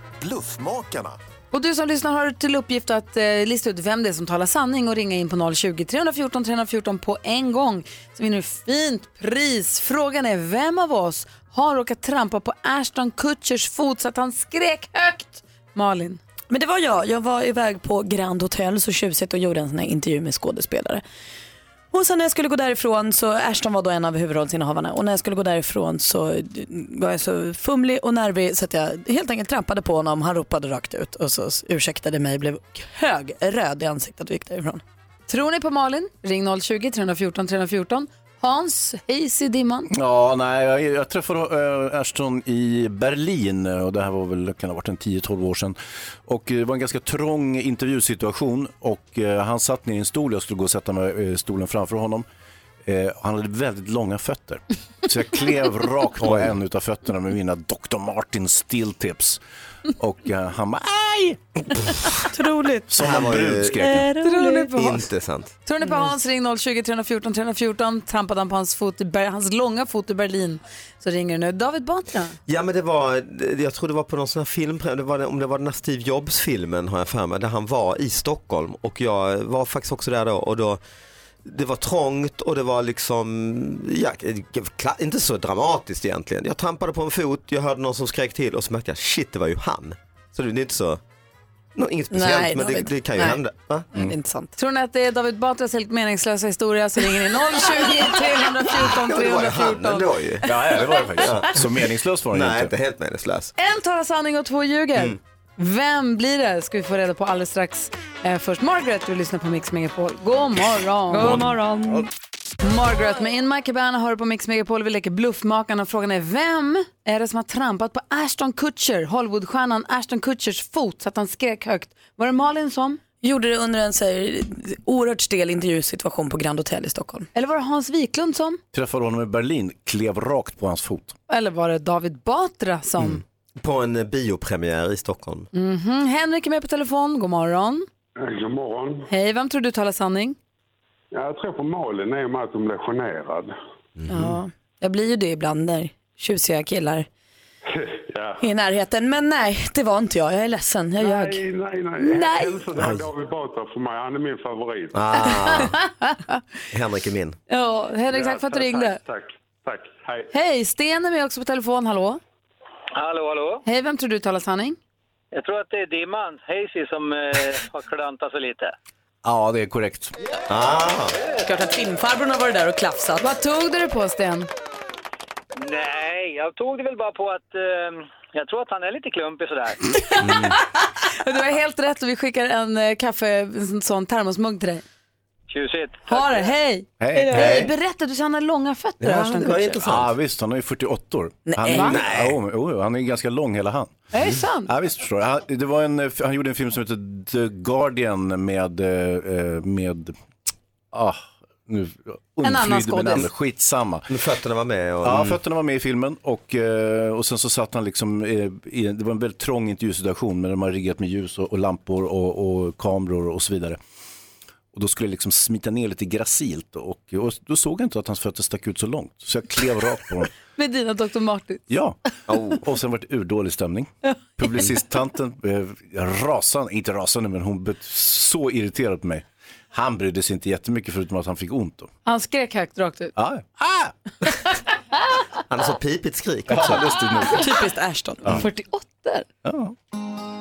Speaker 12: Bluffmakarna.
Speaker 1: Och du som lyssnar har till uppgift att eh, lista ut vem det är som talar sanning och ringa in på 020 314 314 på en gång. Så vinner du fint pris. Frågan är vem av oss har råkat trampa på Ashton Kutchers fot så att han skrek högt? Malin.
Speaker 2: Men det var jag. Jag var iväg på Grand Hotel, så tjusigt, och gjorde en sån här intervju med skådespelare. Och sen när jag skulle gå därifrån så, Ashton var då en av huvudrollsinnehavarna och när jag skulle gå därifrån så eh, var jag så fumlig och nervig så att jag helt enkelt trampade på honom. Han ropade rakt ut och så ursäktade mig, blev högröd i ansiktet och gick därifrån.
Speaker 1: Tror ni på Malin? Ring 020-314 314. Hans, hejs i dimman.
Speaker 3: Ja, nej, jag, jag träffade eh, Ashton i Berlin eh, och det här var väl kan ha varit en 10-12 år sedan. Och eh, det var en ganska trång intervjusituation och eh, han satt ner i en stol, jag skulle gå och sätta mig eh, stolen framför honom. Eh, han hade väldigt långa fötter. Så jag klev rakt på en utav fötterna med mina Dr. Martin Steeltips. Och eh, han bara aj!
Speaker 2: Otroligt.
Speaker 3: Som en brud skrek jag.
Speaker 1: Otroligt på Hans.
Speaker 16: Inte sant.
Speaker 1: Tror ni på Hans, ring 020-314 314. Trampade han på hans, fot i Ber- hans långa fot i Berlin så ringer det nu. David Batra.
Speaker 16: Ja men det var, jag tror det var på någon sån här film, det var, om det var den här Steve Jobs filmen har jag för mig, där han var i Stockholm och jag var faktiskt också där då och då det var trångt och det var liksom, ja, kla- inte så dramatiskt egentligen. Jag trampade på en fot, jag hörde någon som skrek till och så märkte jag, shit det var ju han. Så det det är inte så, nå- inget speciellt
Speaker 1: Nej,
Speaker 16: men det,
Speaker 1: David.
Speaker 16: det kan ju
Speaker 1: Nej.
Speaker 16: hända. Va?
Speaker 2: Intressant.
Speaker 1: Tror ni att det är David Batras helt meningslösa historia så ringer ni 020-314
Speaker 16: Ja, det var ju han
Speaker 1: 314.
Speaker 16: ändå ju.
Speaker 3: Ja, ja, det var det faktiskt. Så meningslös var det ju
Speaker 16: Nej,
Speaker 3: inte.
Speaker 16: inte helt meningslös.
Speaker 1: En talar sanning och två ljuger.
Speaker 16: Mm.
Speaker 1: Vem blir det? ska vi få reda på alldeles strax. Eh, först Margaret, du lyssnar på Mix Megapol. God morgon!
Speaker 4: God morgon.
Speaker 1: Margaret med In My Cabana hör på Mix Megapol. Vi leker Bluffmakarna och frågan är vem är det som har trampat på Ashton Kutcher, Hollywoodstjärnan Ashton Kutchers fot så att han skrek högt? Var det Malin som?
Speaker 2: Gjorde det under en så här, eh, oerhört stel intervjusituation på Grand Hotel i Stockholm.
Speaker 1: Eller var det Hans Wiklund som?
Speaker 3: Träffade honom i Berlin, klev rakt på hans fot.
Speaker 1: Eller var det David Batra som?
Speaker 16: På en eh, biopremiär i Stockholm.
Speaker 1: Mhm. Henrik är med på telefon. God morgon.
Speaker 17: Eh, God morgon.
Speaker 1: Hej, vem tror du talar sanning?
Speaker 17: Ja, Jag tror på Malin i och med att hon blev generad.
Speaker 2: Ja, jag blir ju det ibland när tjusiga killar
Speaker 17: *laughs* Ja.
Speaker 2: är i närheten. Men nej, det var inte jag. Jag är ledsen. Jag ljög.
Speaker 17: Nej, nej, nej.
Speaker 2: Nej.
Speaker 17: Hälsa till David Batra för mig. Han är min favorit.
Speaker 16: Ah,
Speaker 1: *laughs*
Speaker 16: Henrik är min.
Speaker 1: Ja, Henrik, tack för att du
Speaker 17: Ja,
Speaker 1: ringde.
Speaker 17: Tack, tack. tack. Hej.
Speaker 1: Hej, Sten är med också på telefon. Hallå.
Speaker 18: Hallå, hallå.
Speaker 1: Hej, vem tror du talar sanning?
Speaker 18: Jag tror att det är dimman, Hazy, som eh, har klantat sig lite.
Speaker 3: Ja, det är korrekt. Ah.
Speaker 2: Klart att filmfarbrorn har varit där och klafsat.
Speaker 1: Vad tog du det på, Sten?
Speaker 18: Nej, jag tog det väl bara på att eh, jag tror att han är lite klumpig sådär.
Speaker 1: Du har helt rätt och vi skickar en eh, kaffe, en sån- sån termosmugg till dig.
Speaker 18: Tjusigt.
Speaker 1: Ha det, hej!
Speaker 3: Hej.
Speaker 1: Hej.
Speaker 3: Hej.
Speaker 1: Berätta, du sa han har långa fötter. Ashton Kutcher.
Speaker 3: Ja, visst, han är ju 48 år.
Speaker 1: Nej.
Speaker 3: Han,
Speaker 1: Va?
Speaker 3: är, jo, jo, han är ju ganska lång hela han.
Speaker 1: Är det sant?
Speaker 3: Ja, visst förstår jag. han, det var en, eh, han gjorde en film som heter The Guardian med, eh, med ah, nu,
Speaker 1: En annan
Speaker 3: undflyr det mig
Speaker 1: skådis.
Speaker 3: namnet. Skitsamma.
Speaker 16: Men fötterna var med. Och,
Speaker 3: Ja, fötterna var med i filmen och, eh, och sen så satt han liksom, eh, i, det var en väldigt trång intervjusituation men de har riggat med ljus och, och lampor och, och kameror och så vidare. Och då skulle jag liksom smita ner lite gracilt och, och då såg jag inte att hans fötter stack ut så långt. Så jag klev rakt på honom. *laughs*
Speaker 1: Med dina Dr. Martin.
Speaker 3: Ja, och sen var det urdålig stämning. Publicisttanten eh, rasande, inte rasande men hon blev så irriterad på mig. Han brydde sig inte jättemycket förutom att han fick ont. Då. Ah.
Speaker 1: Han skrek högt rakt ut.
Speaker 3: Ja,
Speaker 16: Han har så pipigt skrik
Speaker 3: också. lustigt nog.
Speaker 2: Typiskt Ashton.
Speaker 3: Ja.
Speaker 1: 48?
Speaker 3: Ja.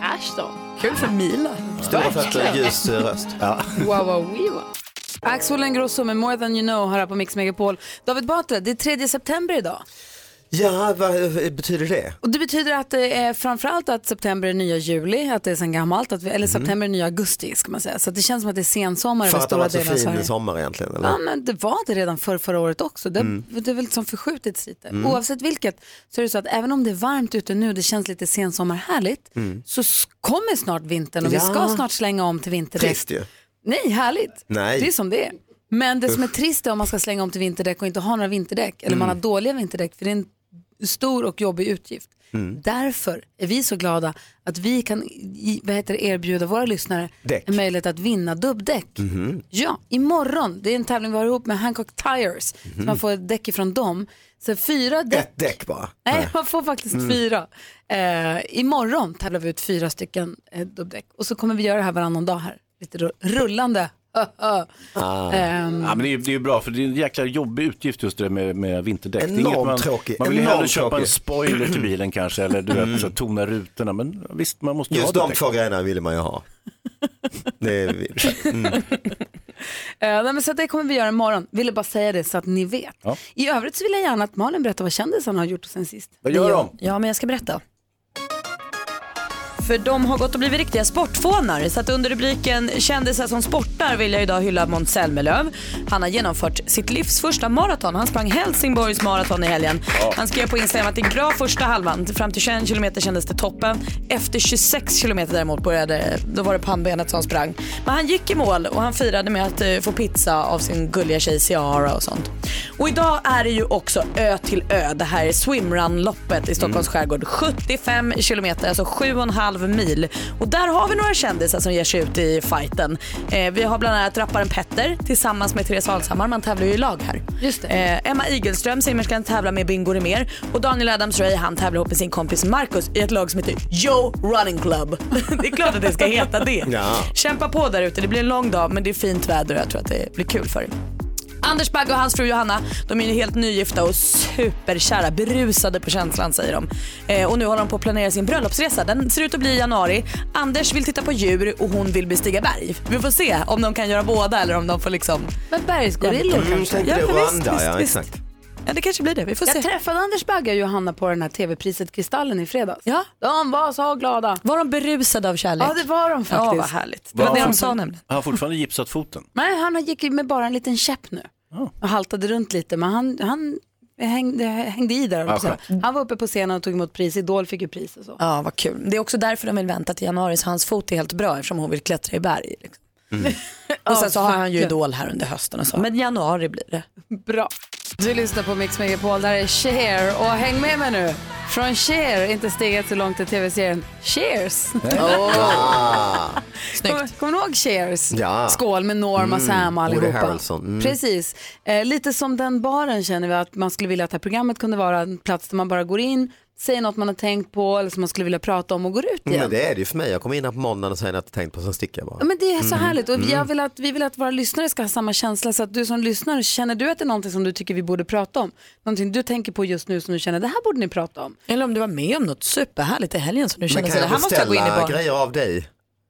Speaker 1: Ashton.
Speaker 2: Kul för Mila.
Speaker 16: Stora fötter, ljus eh, röst.
Speaker 3: Ja.
Speaker 1: Wow, wow, wow. Axel Ingrosso med More than you know här på Mix Megapol. David Batra, det är 3 september idag.
Speaker 16: Ja, vad eh, betyder det?
Speaker 1: Och det betyder att det är framförallt att september är nya juli, att det är sen gammalt, att vi, eller september är nya augusti ska man säga. Så att det känns som att det är sensommar
Speaker 16: Mm. För
Speaker 1: över
Speaker 16: att det
Speaker 1: stora delar
Speaker 16: var så
Speaker 1: av
Speaker 16: fin
Speaker 1: Sverige.
Speaker 16: sommar egentligen? Eller?
Speaker 1: Ja, men det var det redan för förra året också. Det,
Speaker 16: Mm.
Speaker 1: det är väl liksom förskjutits lite.
Speaker 16: Mm.
Speaker 1: Oavsett vilket så är det så att även om det är varmt ute nu och det känns lite sensommarhärligt
Speaker 16: Mm.
Speaker 1: så s- kommer snart vintern och
Speaker 16: Ja.
Speaker 1: vi ska snart slänga om till vinterdäck.
Speaker 16: Trist ju.
Speaker 1: Nej, härligt.
Speaker 16: Nej.
Speaker 1: Det är som det är. Men det som är
Speaker 16: Usch.
Speaker 1: trist är om man ska slänga om till vinterdäck och inte ha några vinterdäck eller man har
Speaker 16: Mm.
Speaker 1: dåliga vinterdäck för det är en stor och jobbig utgift.
Speaker 16: Mm.
Speaker 1: Därför är vi så glada att vi kan i- vad heter det, erbjuda våra lyssnare
Speaker 16: Däck.
Speaker 1: en möjlighet att vinna dubbdäck.
Speaker 16: Mhm.
Speaker 1: Ja, imorgon, det är en tävling vi har ihop med Hancock Tires, så
Speaker 16: Mhm.
Speaker 1: man får ett däck ifrån dem. Så fyra däck.
Speaker 16: Ett däck bara.
Speaker 1: Nej, man får faktiskt
Speaker 16: Mm.
Speaker 1: fyra. Eh, imorgon tävlar vi ut fyra stycken eh, dubbdäck och så kommer vi göra det här varannan dag här. Lite ru- rullande. *laughs*
Speaker 3: Ah.
Speaker 1: Ehm.
Speaker 3: Ja, men det, är, ju- det är ju bra för det är en jäkla jobbig utgift just det där med, med vinterdäck. Det är
Speaker 16: Enormt
Speaker 3: inget man,
Speaker 16: tråkig,
Speaker 3: Man vill ju
Speaker 16: enormt
Speaker 3: hellre köpa en
Speaker 16: tråkig.
Speaker 3: spoiler till bilen kanske eller du
Speaker 16: Mm.
Speaker 3: vet, så här, tona rutorna. Men visst, man måste ju ha
Speaker 16: Just de
Speaker 3: däck.
Speaker 16: två grejerna ville man ju ha. Det är, mm.
Speaker 1: Eh, nej, men så att det kommer vi göra imorgon. Ville bara säga det så att ni vet.
Speaker 3: Ja.
Speaker 1: I övrigt så vill jag gärna att Malin berättar vad kändisarna har gjort sen sist.
Speaker 3: Vad gör de?
Speaker 2: Ja, men jag ska berätta. För de har gått och blivit riktiga sportfånar. Så att under rubriken kändisar som sportar vill jag idag hylla Måns Zelmerlöw. Han har genomfört sitt livs första maraton. Han sprang Helsingborgs maraton i helgen. Han skrev på Instagram att det är bra första halvan. Fram till 21 kilometer kändes det toppen. Efter 26 kilometer däremot började, då var det pannbenet som sprang. Men han gick i mål och han firade med att eh, få pizza av sin gulliga tjej Ciara och sånt. Och idag är det ju också ö till ö. Det här är swimrun-loppet i Stockholms skärgård. 75 kilometer, alltså 7,5 mil. Och där har vi några kändisar som ger sig ut i fighten. Eh, vi har bland annat rapparen Petter tillsammans med Therese Alshammar. Man tävlar ju i lag här. Just Eh, Emma Igelström, simmerskan, tävlar med Bingo mer. Och Daniel Adams-Ray han tävlar ihop med sin kompis Marcus i ett lag som heter Yo Running Club. *laughs* det är klart att det ska heta det.
Speaker 16: Ja.
Speaker 2: Kämpa på där ute. Det blir en lång dag men det är fint väder och jag tror att det blir kul för er. Anders Bagge och hans fru Johanna, de är ju helt nygifta och superkära, berusade på känslan säger de. Eh, och nu håller de på att planera sin bröllopsresa. Den ser ut att bli i januari. Anders vill titta på djur och hon vill bestiga berg. Vi får se om de kan göra båda eller om de får liksom...
Speaker 1: Men bergsgorillor
Speaker 16: Mm,
Speaker 1: kanske?
Speaker 2: Ja, men visst, visst,
Speaker 16: ja,
Speaker 2: visst.
Speaker 16: exakt.
Speaker 2: Ja, det kanske blir det. Vi får
Speaker 1: jag
Speaker 2: se.
Speaker 1: träffade Anders Bagge och Johanna på den här tv-priset Kristallen i fredags. Ja. De var så glada.
Speaker 2: Var de berusade av kärlek?
Speaker 1: Ja, det var de faktiskt.
Speaker 2: Ja, vad härligt. Det var det de sa nämligen.
Speaker 3: Har han fortfarande gipsat foten?
Speaker 1: Nej, han gick ju med bara en liten käpp nu
Speaker 16: Oh.
Speaker 1: och haltade runt lite, men han, han hängde, hängde i där.
Speaker 2: Ja,
Speaker 1: också. han var uppe på scenen och tog emot pris. Idol fick ju pris och så.
Speaker 2: Ja, vad kul. Det är också därför de vill vänta till januari så hans fot är helt bra eftersom hon vill klättra i berg. Liksom. *laughs* Och sen så har han ju Idol här under hösten och så. Men januari blir det.
Speaker 1: Bra. Du lyssnar på Mix Megapol, där är Cher och häng med mig nu. Från Cher, inte steget så långt till tv-serien Cheers.
Speaker 16: Ah.
Speaker 1: Kommer, kommer ni ihåg Cheers?
Speaker 16: Ja.
Speaker 1: Skål med Norma,
Speaker 16: Mm,
Speaker 1: Sam och
Speaker 16: Woody
Speaker 1: allihopa.
Speaker 16: Harrelson, mm.
Speaker 1: Precis. Eh, lite som den baren känner vi att man skulle vilja att det här programmet kunde vara en plats där man bara går in, säger något man har tänkt på eller som man skulle vilja prata om och går ut igen.
Speaker 16: Men det är det ju för mig. Jag kommer in här på måndagen och säger att jag tänkt på så sticker jag bara.
Speaker 1: Ja, Men det är så
Speaker 16: Mm.
Speaker 1: härligt och jag
Speaker 16: Mm.
Speaker 1: vill att, vi vill att våra lyssnare ska ha samma känsla så att du som lyssnar, känner du att det är någonting som du tycker vi borde prata om? Någonting du tänker på just nu som du känner, det här borde ni prata om.
Speaker 2: Eller om du var med om något superhärligt i helgen som du
Speaker 16: Men
Speaker 2: kände
Speaker 16: kan
Speaker 2: så här
Speaker 16: jag
Speaker 2: här måste jag gå in i
Speaker 16: beställa
Speaker 2: barn.
Speaker 16: grejer av dig?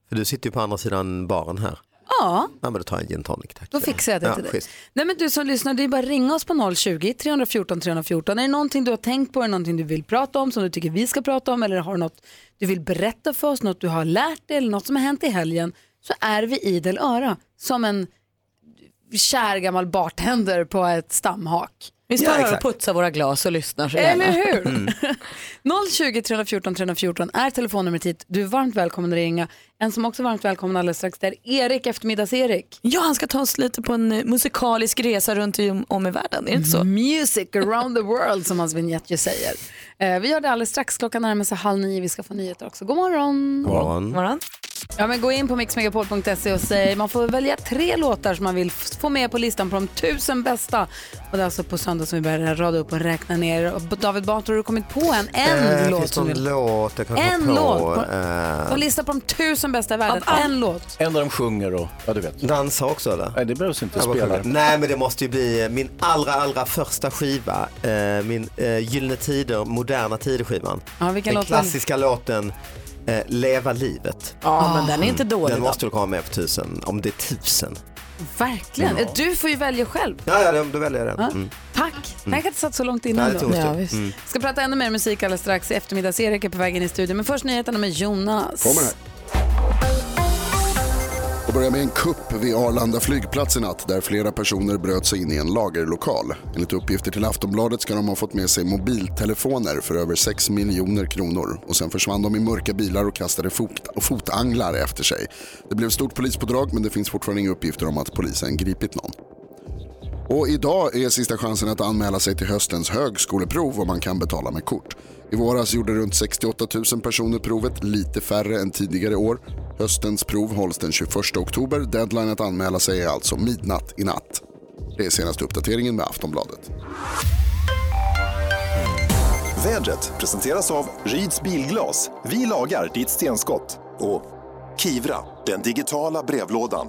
Speaker 16: För du sitter ju på andra sidan baren här.
Speaker 1: Ja,
Speaker 16: Ja men då tar jag en gin tonic tack.
Speaker 1: då fixar jag det
Speaker 16: Ja,
Speaker 1: till dig.
Speaker 16: schysst.
Speaker 1: Nej men du som lyssnar, det är bara att ringa oss på 020-314 314. Är det någonting du har tänkt på, är det någonting du vill prata om som du tycker vi ska prata om eller har du något du vill berätta för oss, något du har lärt dig eller något som har hänt i helgen så är vi idel öra som en kär gammal bartender på ett stamhak.
Speaker 2: Vi står här och putsar våra glas och lyssnar så gärna.
Speaker 1: Eller *laughs* hur? 020 314 314 är telefonnumret hit. Du är varmt välkommen att ringa. En som också är varmt välkommen alldeles strax det är Erik, eftermiddags-Erik.
Speaker 2: Ja, han ska ta oss lite på en eh, musikalisk resa runt om- om i världen, är det inte så?
Speaker 1: Music around the world som hans vignett ju säger. Eh, vi gör det alldeles strax, klockan närmar sig halv nio. Vi ska få nyheter också. God morgon!
Speaker 16: God morgon.
Speaker 1: Ja, men gå in på mixmegapol.se och säg, man får välja tre låtar som man vill f- få med på listan på de tusen bästa. Och det är alltså på söndag som vi börjar rada upp och räkna ner. Och David Batra, har du kommit på en? En
Speaker 16: Eh,
Speaker 1: låt
Speaker 16: Finns
Speaker 1: som
Speaker 16: det
Speaker 1: du-
Speaker 16: någon låt jag kan
Speaker 1: En
Speaker 16: gå på?
Speaker 1: låt på-
Speaker 16: Eh,
Speaker 1: På lista på de tusen bästa i världen. En låt.
Speaker 16: En där de sjunger och, ja du vet. Dansa också eller?
Speaker 3: Nej, det behövs inte
Speaker 16: Ja, vad
Speaker 3: spela.
Speaker 16: sjunger. Nej men det måste ju bli eh, min allra, allra första skiva. Eh, min eh, Gyllene Tider, Moderna Tider-skivan.
Speaker 1: Ja, vilken
Speaker 16: den
Speaker 1: låt var det?
Speaker 16: klassiska låten eh, Leva livet.
Speaker 2: Ja, men den är inte
Speaker 16: Mm.
Speaker 2: dålig
Speaker 16: Den
Speaker 2: då.
Speaker 16: måste du komma med på tusen, om det är tusen.
Speaker 1: Verkligen.
Speaker 16: Ja.
Speaker 1: Du får ju välja själv.
Speaker 16: Ja, ja då väljer jag den.
Speaker 1: Ja.
Speaker 16: Mm.
Speaker 1: Tack. Mm. Jag kan inte satt så långt
Speaker 16: Nej,
Speaker 1: innan.
Speaker 16: det
Speaker 1: då.
Speaker 16: tog oss det. Mm.
Speaker 1: ska prata ännu mer musik alldeles strax. Eftermiddags-Erik är på väg in i studion. Men först nyheterna med Jonas.
Speaker 19: Kommer här. Och börjar med en kupp vid Arlanda flygplats i natt där flera personer bröt sig in i en lagerlokal. Enligt uppgifter till Aftonbladet ska de ha fått med sig mobiltelefoner för över 6 miljoner kronor. Och sen försvann de i mörka bilar och kastade fot fotanglar efter sig. Det blev stort polispådrag men det finns fortfarande inga uppgifter om att polisen gripit någon. Och idag är sista chansen att anmäla sig till höstens högskoleprov om man kan betala med kort. I våras gjorde runt 68 000 personer provet, lite färre än tidigare år. Höstens prov hålls den 21 oktober. Deadline att anmäla sig är alltså midnatt i natt. Det är senaste uppdateringen med Aftonbladet.
Speaker 12: Vädret presenteras av Ryds Bilglas. Vi lagar ditt stenskott. Och Kivra, den digitala brevlådan.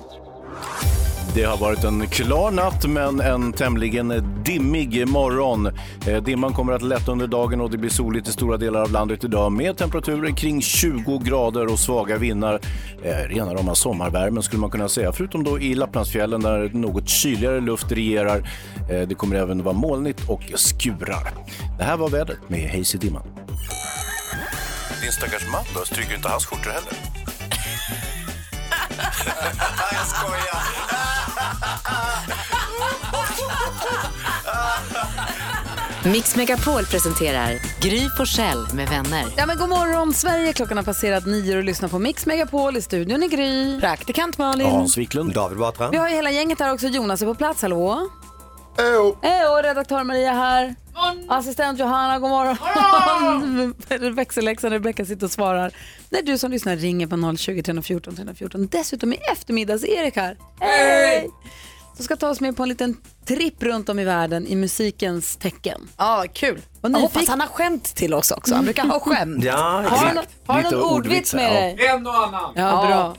Speaker 3: Det har varit en klar natt men en tämligen dimmig morgon. Eh, Dimman kommer att lätta under dagen och det blir soligt i stora delar av landet idag med temperaturer kring 20 grader och svaga vindar. Eh, Rena rama sommarvärmen skulle man kunna säga, förutom då i Lapplandsfjällen där något kyligare luft regerar. Eh, Det kommer även vara molnigt och skurar. Det här var vädret med Hayes i dimman. Din stackars man då, stryker inte hans skjortor
Speaker 5: *laughs*
Speaker 3: heller?
Speaker 5: jag skojar.
Speaker 11: Mix Megapol presenterar Gry Forssell med vänner.
Speaker 1: Ja, men god morgon Sverige, klockan har passerat nio och lyssnar på Mix Megapol i studion i Gry. Praktikant Malin.
Speaker 3: Wiklund.
Speaker 16: David Batra.
Speaker 1: Vi har ju hela gänget här också. Jonas är på plats, hallå? Ejo. Ejo, redaktör Maria här. Assistent Johanna, god morgon. *laughs* Växelläxan Rebecka sitter och svarar. När du som lyssnar ringer på 020 314 314. Dessutom i eftermiddag så är Erik här. Hej! Som ska ta oss med på en liten tripp runt om i världen i musikens tecken.
Speaker 2: Ja, kul.
Speaker 1: Och
Speaker 2: jag
Speaker 1: nyfiken-
Speaker 2: hoppas han har skämt till oss också. Han brukar ha skämt.
Speaker 1: Ja, *laughs* Har du något- har du Lite någon ordvits ordvits, med ja. dig?
Speaker 10: En och annan.
Speaker 1: Ja, bra.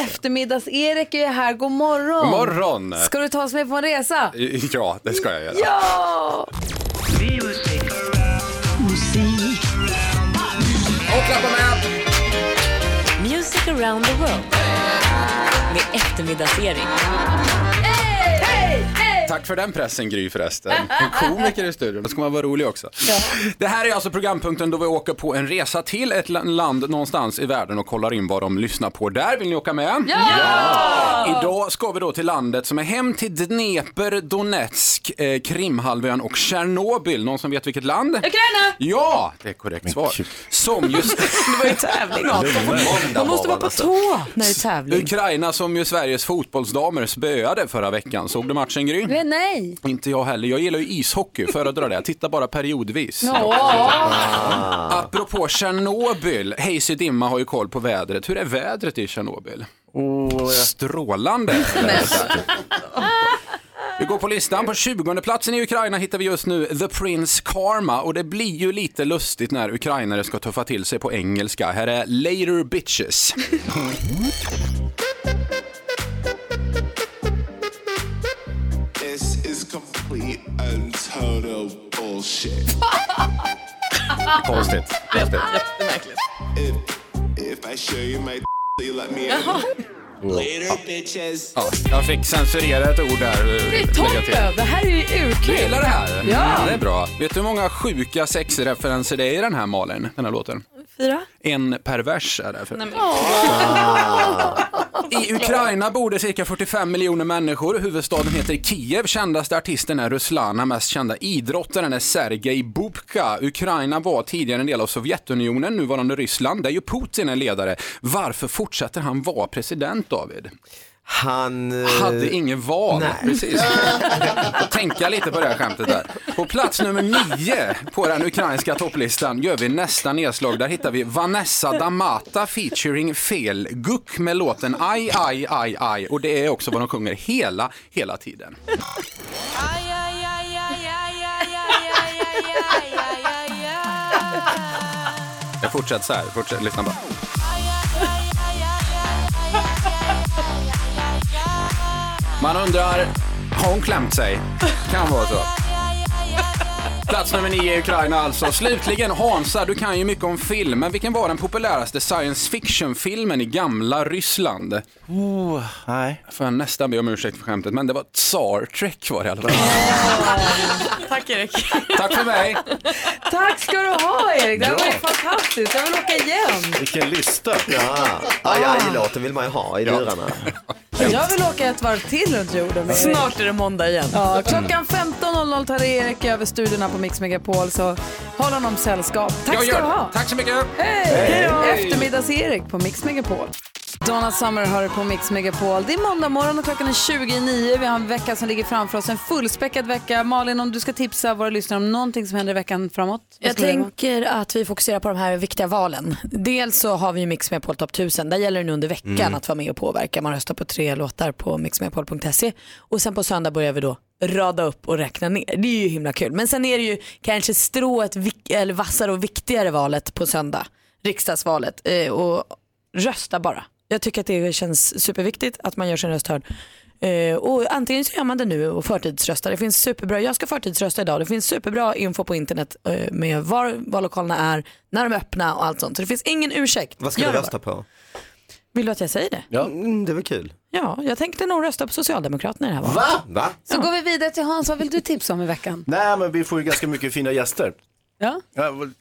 Speaker 1: Eftermiddags-Erik är här. God morgon.
Speaker 10: God morgon.
Speaker 1: Ska du ta oss med på en resa?
Speaker 10: Ja, det ska jag göra.
Speaker 1: Ja!
Speaker 10: Och klappa med!
Speaker 11: Music around the world med eftermiddagsserie.
Speaker 10: Tack för den pressen Gry förresten. En komiker i studion, då ska man vara rolig också. Det här är alltså programpunkten då vi åker på en resa till ett la- land någonstans i världen och kollar in vad de lyssnar på där. Vill ni åka med?
Speaker 5: Ja! Ja!
Speaker 10: Idag ska vi då till landet som är hem till Dnepr, Donetsk, eh, Krimhalvön och Tjernobyl. Någon som vet vilket land?
Speaker 1: Ukraina!
Speaker 10: Ja, det är korrekt svar. *laughs* Som just...
Speaker 2: Det var ju tävling. Man måste vara på tå alltså. när det är tävling.
Speaker 10: Ukraina som ju Sveriges fotbollsdamer spöade förra veckan. Såg du matchen Gry?
Speaker 1: Nej, nej.
Speaker 10: Inte jag heller. Jag gillar ju ishockey, föredrar det. Jag tittar bara periodvis.
Speaker 1: Ja.
Speaker 10: Apropå Tjernobyl, Hayes Dimma har ju koll på vädret. Hur är vädret i Tjernobyl? Strålande. Vi går på listan. På 20 platsen i Ukraina hittar vi just nu The Prince Karma och det blir ju lite lustigt när ukrainare ska tuffa till sig på engelska. Här är Later Bitches.
Speaker 20: This is complete and total bullshit.
Speaker 10: Konstigt. Konstigt.
Speaker 20: If, if I show you my *laughs* you let me in. Oh. Later bitches.
Speaker 10: Ja, jag fick censurera ett ord där.
Speaker 1: Det är toppen! Det här är ju urkul.
Speaker 10: Du gillar det här?
Speaker 1: Ja.
Speaker 10: Det är bra. Vet du hur många sjuka sexreferenser det är i den här Malin, den här låten?
Speaker 1: Fyra?
Speaker 10: En pervers är det. För.
Speaker 2: Nej, men-
Speaker 10: I Ukraina bor det cirka 45 miljoner människor. Huvudstaden heter Kiev. Kändaste artisten är Ruslana. Mest kända idrottaren är Sergej Bubka. Ukraina var tidigare en del av Sovjetunionen, nuvarande Ryssland, där ju Putin är ledare. Varför fortsätter han vara president, David?
Speaker 16: Han... eh,
Speaker 10: Hade ingen val, *laughs* precis. Får Tänka lite på det här skämtet där. På plats nummer nio på den ukrainska topplistan gör vi nästa nedslag. Där hittar vi Vanessa Damata featuring Fel Guck med låten Aj, aj, aj, aj. Och det är också vad de sjunger hela, hela tiden. Jag fortsätter så här, fortsätt, lyssna bara. Man undrar, har hon klämt sig? Kan vara så. Plats nummer nio i Ukraina alltså. Slutligen Hansa, du kan ju mycket om film, men vilken var den populäraste science fiction-filmen i gamla Ryssland?
Speaker 3: Oh, nej.
Speaker 10: Får jag nästan be om ursäkt för skämtet, men det var Tsar Trek var det i alla fall.
Speaker 2: Tack Erik.
Speaker 10: Tack för mig.
Speaker 1: Tack ska du ha Erik, det här var ju
Speaker 16: Bra.
Speaker 1: fantastiskt. Jag vill åka igen.
Speaker 3: Vilken lista.
Speaker 16: Ja, aj-aj-låten vill man ju ha i lurarna.
Speaker 1: Jag vill åka ett varv till runt jorden med Erik.
Speaker 2: Snart är det måndag igen.
Speaker 1: Ja, klockan 15.00 tar Erik över studiorna på Mix Megapol så håll honom sällskap. Tack
Speaker 10: Jag
Speaker 1: ska
Speaker 10: gör
Speaker 1: du
Speaker 10: det.
Speaker 1: ha.
Speaker 10: Tack så mycket.
Speaker 1: Hej! Eftermiddags-Erik på Mix Megapol. Donna Summer hör på Mix Megapol. Det är måndag morgon och klockan är 29. Vi har en vecka som ligger framför oss, en fullspäckad vecka. Malin, om du ska tipsa våra lyssnare om någonting som händer i veckan framåt? vad
Speaker 2: Jag
Speaker 1: skulle det vara?
Speaker 2: tänker att vi fokuserar på de här viktiga valen. Dels så har vi ju Mix Megapol Top 1000. Där gäller det nu under veckan
Speaker 1: Mm.
Speaker 2: att vara med och påverka. Man röstar på tre låtar på mixmegapol.se. Och sen på söndag börjar vi då rada upp och räkna ner. Det är ju himla kul. Men sen är det ju kanske strået vik- eller vassare och viktigare valet på söndag. Riksdagsvalet. Eh, och rösta bara. Jag tycker att det känns superviktigt att man gör sin röst hörd. Eh, och antingen så gör man det nu och förtidsröstar. Det finns superbra, jag ska förtidsrösta idag. Det finns superbra info på internet eh, med var vallokalerna är, när de är öppna och allt sånt. Så det finns ingen ursäkt.
Speaker 16: Vad ska
Speaker 2: Gör
Speaker 16: du
Speaker 2: det
Speaker 16: rösta på?
Speaker 2: bara. Vill du att jag säger det?
Speaker 16: Ja. Mm, det var kul.
Speaker 2: Ja, jag tänkte nog rösta på Socialdemokraterna i det här valet.
Speaker 16: Va?
Speaker 1: Så går vi vidare till Hans, vad vill du tipsa om i veckan?
Speaker 3: Nej, men vi får ju ganska mycket fina gäster.
Speaker 1: Ja.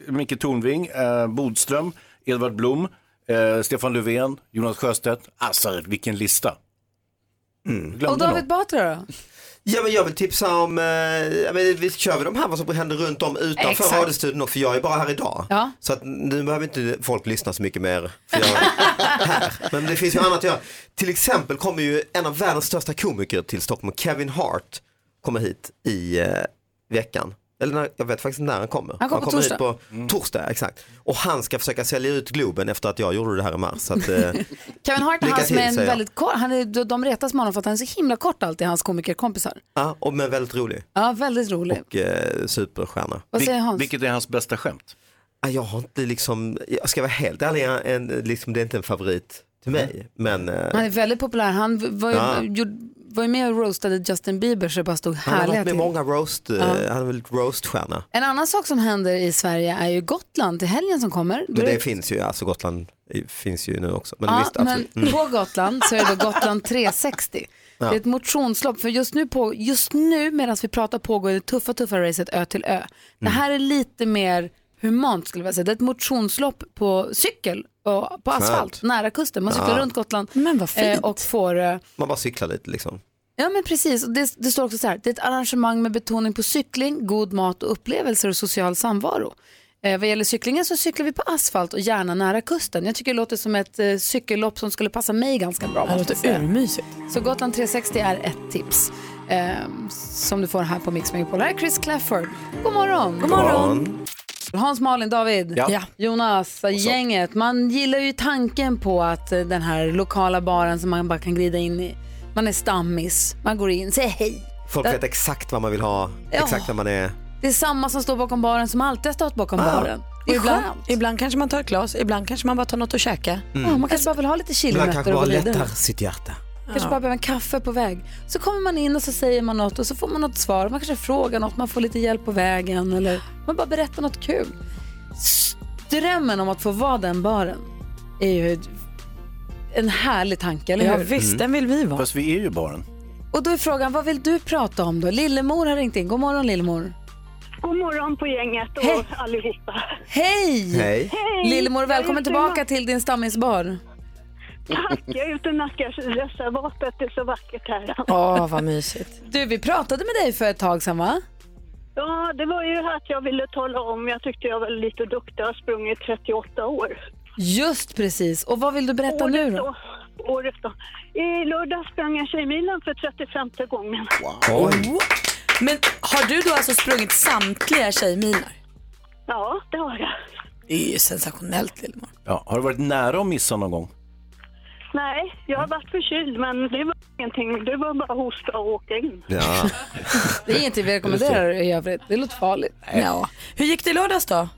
Speaker 3: Micke Tornving, eh, Bodström, Edvard Blom, eh, Stefan Löfven, Jonas Sjöstedt. Alltså, vilken lista.
Speaker 1: Och
Speaker 3: Glömde
Speaker 1: David
Speaker 3: någon.
Speaker 1: Batra då?
Speaker 16: Ja, men jag vill tipsa om, eh, ja, men vi kör vi de här vad som händer runt om utanför
Speaker 1: Exakt.
Speaker 16: radiostudion också, för jag är bara här idag.
Speaker 1: Ja.
Speaker 16: Så att nu behöver inte folk lyssna så mycket mer. För jag
Speaker 1: *laughs*
Speaker 16: är här. Men det finns ju annat att göra. Till exempel kommer ju en av världens största komiker till Stockholm, Kevin Hart, kommer hit i eh, veckan. Eller när, jag vet faktiskt inte när han kommer.
Speaker 1: Han kommer Mm. på
Speaker 16: hit på torsdag, exakt. Och han ska försöka sälja ut Globen efter att jag gjorde det här i mars. Så
Speaker 1: *laughs*
Speaker 16: att, eh,
Speaker 1: Kevin Hart är
Speaker 16: Lycka
Speaker 1: han som
Speaker 16: till,
Speaker 1: är en
Speaker 16: säger jag.
Speaker 1: väldigt kort, han är, de- de retas med honom för att han är så himla kort alltid, hans komikerkompisar.
Speaker 16: ja, och men väldigt rolig.
Speaker 1: Ja, väldigt rolig.
Speaker 16: Och eh, superstjärna.
Speaker 1: Vad säger Hans?
Speaker 3: Vilket är hans bästa skämt?
Speaker 16: Ja, Jag har inte liksom, jag ska vara helt ärlig, jag- en, liksom, det är inte en favorit till mig. Men eh,
Speaker 1: Han är väldigt populär, han v- var ju,
Speaker 16: Ja.
Speaker 1: gjorde, var ju med och roastade Justin Bieber så det bara stod
Speaker 16: han har
Speaker 1: härliga
Speaker 16: varit med
Speaker 1: till.
Speaker 16: många roast, eh,
Speaker 1: Ja.
Speaker 16: han är väl roaststjärna.
Speaker 1: En annan sak som händer i Sverige är ju Gotland till helgen som kommer. Då
Speaker 16: Men
Speaker 1: är
Speaker 16: det finns ju, alltså Gotland i- finns ju nu också. Men
Speaker 1: ja,
Speaker 16: visst, absolut.
Speaker 1: men
Speaker 16: Mm.
Speaker 1: på Gotland så är det då Gotland 360.
Speaker 16: Ja.
Speaker 1: Det är ett motionslopp, för just nu, på, just nu medan vi pratar pågår det tuffa, tuffa racet ö till ö. Det
Speaker 16: Mm.
Speaker 1: här är lite mer humant skulle jag vilja säga. Det är ett motionslopp på cykel och på
Speaker 16: Skönt.
Speaker 1: asfalt nära kusten. Man cyklar
Speaker 16: Ja.
Speaker 1: runt Gotland Men vad fint. och får eh,
Speaker 16: Man bara cyklar lite liksom.
Speaker 1: Ja men precis, Och det, det står också så här, det är ett arrangemang med betoning på cykling, god mat och upplevelser och social samvaro. Eh, vad gäller cyklingen så cyklar vi på asfalt och gärna nära kusten. Jag tycker det låter som ett eh, cykellopp som skulle passa mig ganska bra.
Speaker 2: Det
Speaker 1: måste jag
Speaker 2: låter
Speaker 1: säga.
Speaker 2: urmysigt.
Speaker 1: Så Gotland 360 är ett tips eh, som du får här på Mix Megapol. Här är Chris Clafford. God morgon!
Speaker 2: God morgon.
Speaker 1: Hans, Malin, David,
Speaker 2: Ja. Ja.
Speaker 1: Jonas, gänget. Man gillar ju tanken på att eh, den här lokala baren som man bara kan glida in i. Man är stammis, man går in, säger hej.
Speaker 16: Folk
Speaker 1: Det-
Speaker 16: vet exakt vad man vill ha,
Speaker 1: Ja.
Speaker 16: exakt vad man är.
Speaker 1: Det är samma som står bakom baren som alltid har stått
Speaker 16: Ah.
Speaker 1: bakom baren.
Speaker 2: Och ibland, ibland kanske man tar ett glas, ibland kanske man bara tar något att käka.
Speaker 16: Mm. Ja, man
Speaker 1: kanske bara vill ha lite
Speaker 16: Man
Speaker 1: chilinötter
Speaker 16: kanske
Speaker 1: och
Speaker 16: bara
Speaker 1: gå vidare.
Speaker 16: lättar sitt hjärta.
Speaker 1: Kanske bara behöver en kaffe på väg. Så kommer man in och så säger man något och så får man något svar. Man kanske frågar något, man får lite hjälp på vägen eller man bara berättar något kul. Drömmen om att få vara den baren är ju en härlig tanke, eller hur?
Speaker 2: vill vi vara.
Speaker 3: Fast vi är ju baren.
Speaker 1: Och då är frågan, vad vill du prata om då? Lillemor har ringt in. God morgon Lillemor.
Speaker 6: God morgon på gänget och allihopa.
Speaker 1: Hej!
Speaker 6: Hej. Hej!
Speaker 1: Lillemor,
Speaker 6: Jag
Speaker 1: välkommen
Speaker 6: heter
Speaker 1: tillbaka
Speaker 6: Emma.
Speaker 1: till din stammisbar.
Speaker 6: Tack, jag är ute och nackar reservatet. Det är så vackert här.
Speaker 16: Mm.
Speaker 2: Åh, vad mysigt.
Speaker 1: Du, vi pratade med dig för ett tag sedan va?
Speaker 6: Ja, det var ju att jag ville tala om. Jag tyckte jag var lite duktig. Jag har sprungit 38 år.
Speaker 1: Just precis. Och vad vill du berätta nu då?
Speaker 6: År efter. I lördag sprang jag Tjejmilen för 35 gången.
Speaker 2: Oj. Oh. Men har du då alltså sprungit samtliga tjejminer?
Speaker 6: Ja, det har jag.
Speaker 2: Det är ju sensationellt Lillemor.
Speaker 3: Ja, har du varit nära att missa någon gång?
Speaker 6: Nej, jag har varit förkyld, men det var ingenting. Det var bara hosta och åka in.
Speaker 3: *laughs*
Speaker 16: Ja.
Speaker 1: Det är ingenting vi rekommenderar i övrigt. Det låter farligt.
Speaker 2: Ja. Hur gick det i lördags då?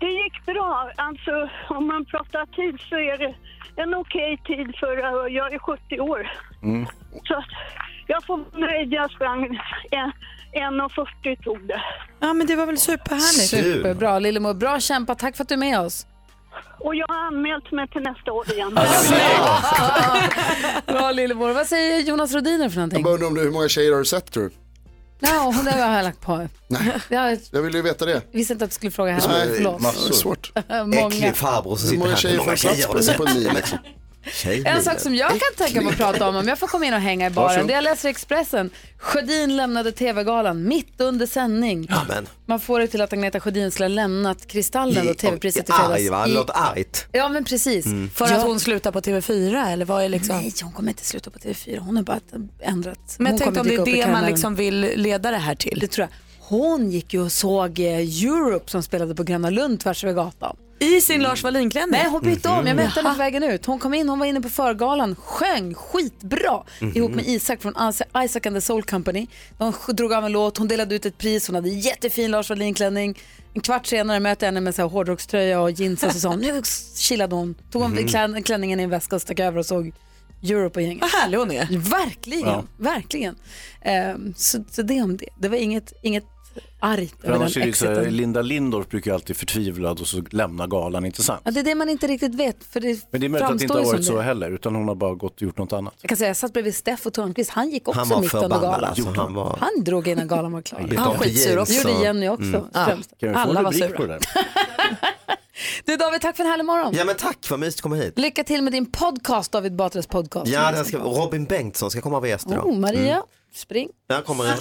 Speaker 6: Det gick bra. Alltså, om man pratar tid så är det en okej tid för eh, jag är 70 år. Så att jag får vara nöjd. Jag sprang en- 1.40 tog det.
Speaker 2: Ja, men det var väl superhärligt.
Speaker 1: Superbra Lillemor. Bra kämpat. Tack för att du är med oss.
Speaker 6: Och jag har anmält mig till nästa år igen.
Speaker 1: Bra Lillemor. Vad säger Jonas Rodiner för någonting?
Speaker 19: Jag bara undrar om du, hur många tjejer har du sett tror du?
Speaker 1: Ja, det har jag lagt på.
Speaker 19: Nej.
Speaker 1: Jag
Speaker 19: Jag ville ju veta det.
Speaker 1: visste inte att du skulle fråga henne.
Speaker 19: Nej,
Speaker 1: Förlåt.
Speaker 19: massor. Svårt.
Speaker 1: Många.
Speaker 16: Äcklig farbror som
Speaker 19: Hur
Speaker 16: sitter
Speaker 19: många
Speaker 16: här.
Speaker 19: tjejer får plats på- på en mil, liksom?
Speaker 1: En sak som jag kan tänka mig att prata om, om jag får komma in och hänga i baren,
Speaker 16: Varsågod.
Speaker 1: det jag läser i Expressen. Sjödin lämnade TV-galan mitt under sändning.
Speaker 16: Amen.
Speaker 1: Man får det till att Agneta Sjödin skulle ha lämnat Kristallen och TV-priset i fredags.
Speaker 16: Arg va,
Speaker 1: i-
Speaker 16: det låter argt.
Speaker 1: Ja men precis.
Speaker 16: Mm.
Speaker 1: För att hon...
Speaker 2: slutar på TV4 eller vad är liksom?
Speaker 1: Nej, hon kommer inte sluta på TV4. Hon har bara ändrat.
Speaker 2: Men
Speaker 1: Hon kommer
Speaker 2: jag tänkte om det
Speaker 1: dyka
Speaker 2: är
Speaker 1: upp i
Speaker 2: det man
Speaker 1: kanalen.
Speaker 2: liksom vill leda det här till.
Speaker 1: Det tror jag. Hon gick ju och såg eh, Europe som spelade på Gröna Lund tvärs över gatan.
Speaker 2: I sin Lars Wallin-klänning?
Speaker 1: Nej, Eh, hon bytte
Speaker 3: Mm.
Speaker 1: om. Jag mötte henne
Speaker 2: Jaha.
Speaker 1: på vägen ut. Hon kom in, hon var inne på förgalan, sjöng skitbra
Speaker 2: Mhm.
Speaker 1: ihop med Isak från Isa- Isaac and the Soul Company. De sj- drog av en låt, hon delade ut ett pris, hon hade jättefin Lars Wallin-klänning. En kvart senare mötte jag henne med så här hårdrockströja och jeans och så sa hon, nu chillade hon. Tog hon
Speaker 2: Mhm.
Speaker 1: klän- klänningen i en väska och stack över och såg Europe och gänget.
Speaker 3: Ah.
Speaker 1: Vad
Speaker 2: härlig hon är.
Speaker 1: Verkligen,
Speaker 2: Ja.
Speaker 1: verkligen. Ehm, så, så det om det. Det var inget, inget argt
Speaker 3: För
Speaker 1: över
Speaker 3: annars är
Speaker 1: den
Speaker 3: det ju så här,
Speaker 1: exiten.
Speaker 3: Linda Lindorff brukar ju alltid förtvivlad och så lämna galan, inte sant?
Speaker 1: Ja, det är det man inte riktigt vet. För det
Speaker 3: Men det är möjligt att det inte har
Speaker 1: framstår ju
Speaker 3: varit
Speaker 1: som
Speaker 3: så
Speaker 1: det.
Speaker 3: heller, utan hon har bara gått och gjort något annat.
Speaker 1: Jag kan säga, jag satt bredvid Steffo Törnqvist, han gick också
Speaker 3: Han var
Speaker 1: mitt under
Speaker 3: förbannad,
Speaker 1: galan.
Speaker 3: alltså. Han var-
Speaker 1: han drog innan galan var klar.
Speaker 3: Bytte
Speaker 1: Han
Speaker 3: om
Speaker 1: var
Speaker 3: till
Speaker 1: skitsur
Speaker 3: jeans
Speaker 1: också.
Speaker 3: och-
Speaker 1: gjorde Jenny också.
Speaker 16: Mm.
Speaker 1: främst.
Speaker 16: Kan vi få
Speaker 1: Alla
Speaker 16: en
Speaker 1: var
Speaker 16: rubrik
Speaker 1: *laughs*
Speaker 16: på
Speaker 1: sura.
Speaker 16: det där?
Speaker 1: Du David, tack för en härlig morgon.
Speaker 16: Ja men tack, vad mysigt att komma hit.
Speaker 1: Lycka till med din podcast, David Batras podcast.
Speaker 16: Ja, den ska, Robin Bengtsson ska komma och vara gäst idag.
Speaker 1: oh, Maria,
Speaker 16: Mm.
Speaker 1: spring.
Speaker 16: Där kommer den.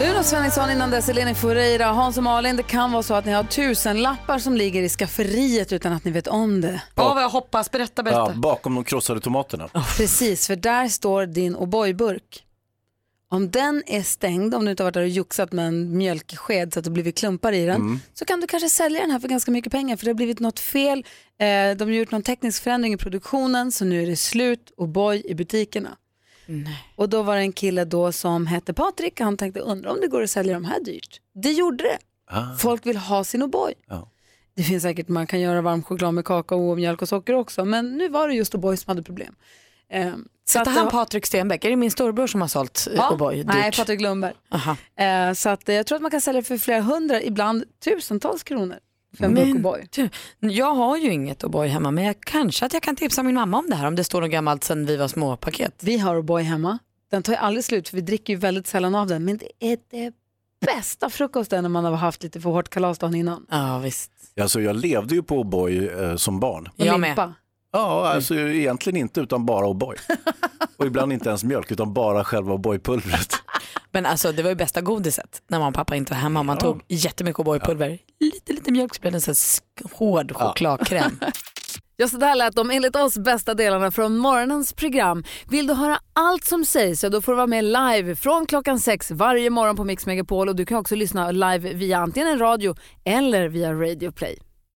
Speaker 1: Uno Svensson innan dess, Eleni Foureira, Hans och Malin. Det kan vara så att ni har tusen lappar som ligger i skafferiet utan att ni vet om det.
Speaker 16: Oh.
Speaker 3: Ja,
Speaker 1: vad jag hoppas. Berätta,
Speaker 3: Ja, bakom de krossade tomaterna.
Speaker 1: Precis, för där står din O'boy-burk. Om den är stängd, om du inte har varit där och joxat med en mjölksked så att det blivit klumpar i den,
Speaker 11: Mm.
Speaker 1: så kan du kanske sälja den här för ganska mycket pengar för det har blivit något fel. Eh, de har gjort någon teknisk förändring i produktionen så nu är det slut O'boy i butikerna. Och då var det en kille då som hette Patrik och han tänkte undra om det går att sälja de här dyrt. Det gjorde det.
Speaker 5: Ah.
Speaker 1: Folk vill ha sin O'boy.
Speaker 5: Ja.
Speaker 1: Det finns säkert, man kan göra varm choklad med kakao och mjölk och socker också, men nu var det just O'boy som hade problem. Ehm,
Speaker 2: Så att
Speaker 1: att
Speaker 2: han
Speaker 1: det-
Speaker 2: Patrik Stenbeck, är det min storbror som har sålt eh, O'boy dyrt?
Speaker 1: nej, Patrik Lundberg.
Speaker 2: Aha.
Speaker 1: Eh, så att, eh, jag tror att man kan sälja för flera hundra, ibland tusentals kronor. För en burk
Speaker 2: Men
Speaker 1: O'boy.
Speaker 2: du, Jag har ju inget O'boy hemma men jag, kanske att jag kan tipsa min mamma om det här om det står något gammalt sen vi var små paket.
Speaker 1: Vi har O'boy hemma. Den tar ju aldrig slut för vi dricker ju väldigt sällan av den. Men det är det bästa frukosten när man har haft lite för hårt kalas dagen innan.
Speaker 2: Ja, visst.
Speaker 3: Alltså, jag levde ju på O'boy eh, som barn.
Speaker 1: Och limpa.
Speaker 3: Ja, alltså egentligen inte utan bara
Speaker 1: *laughs*
Speaker 3: O'boy. och ibland inte ens mjölk utan bara själva O'boy-pulvret.
Speaker 2: Men alltså det var ju bästa godiset när mamma och pappa inte var hemma. Man tog jättemycket O'boy-pulver, lite lite mjölk så blev det en sån här sk- hård chokladkräm.
Speaker 1: Ja, så där lät de enligt oss bästa delarna från morgonens program. Vill du höra allt som sägs så då får du vara med live från klockan sex varje morgon på Mix Megapol och du kan också lyssna live via antingen en radio eller via Radio Play.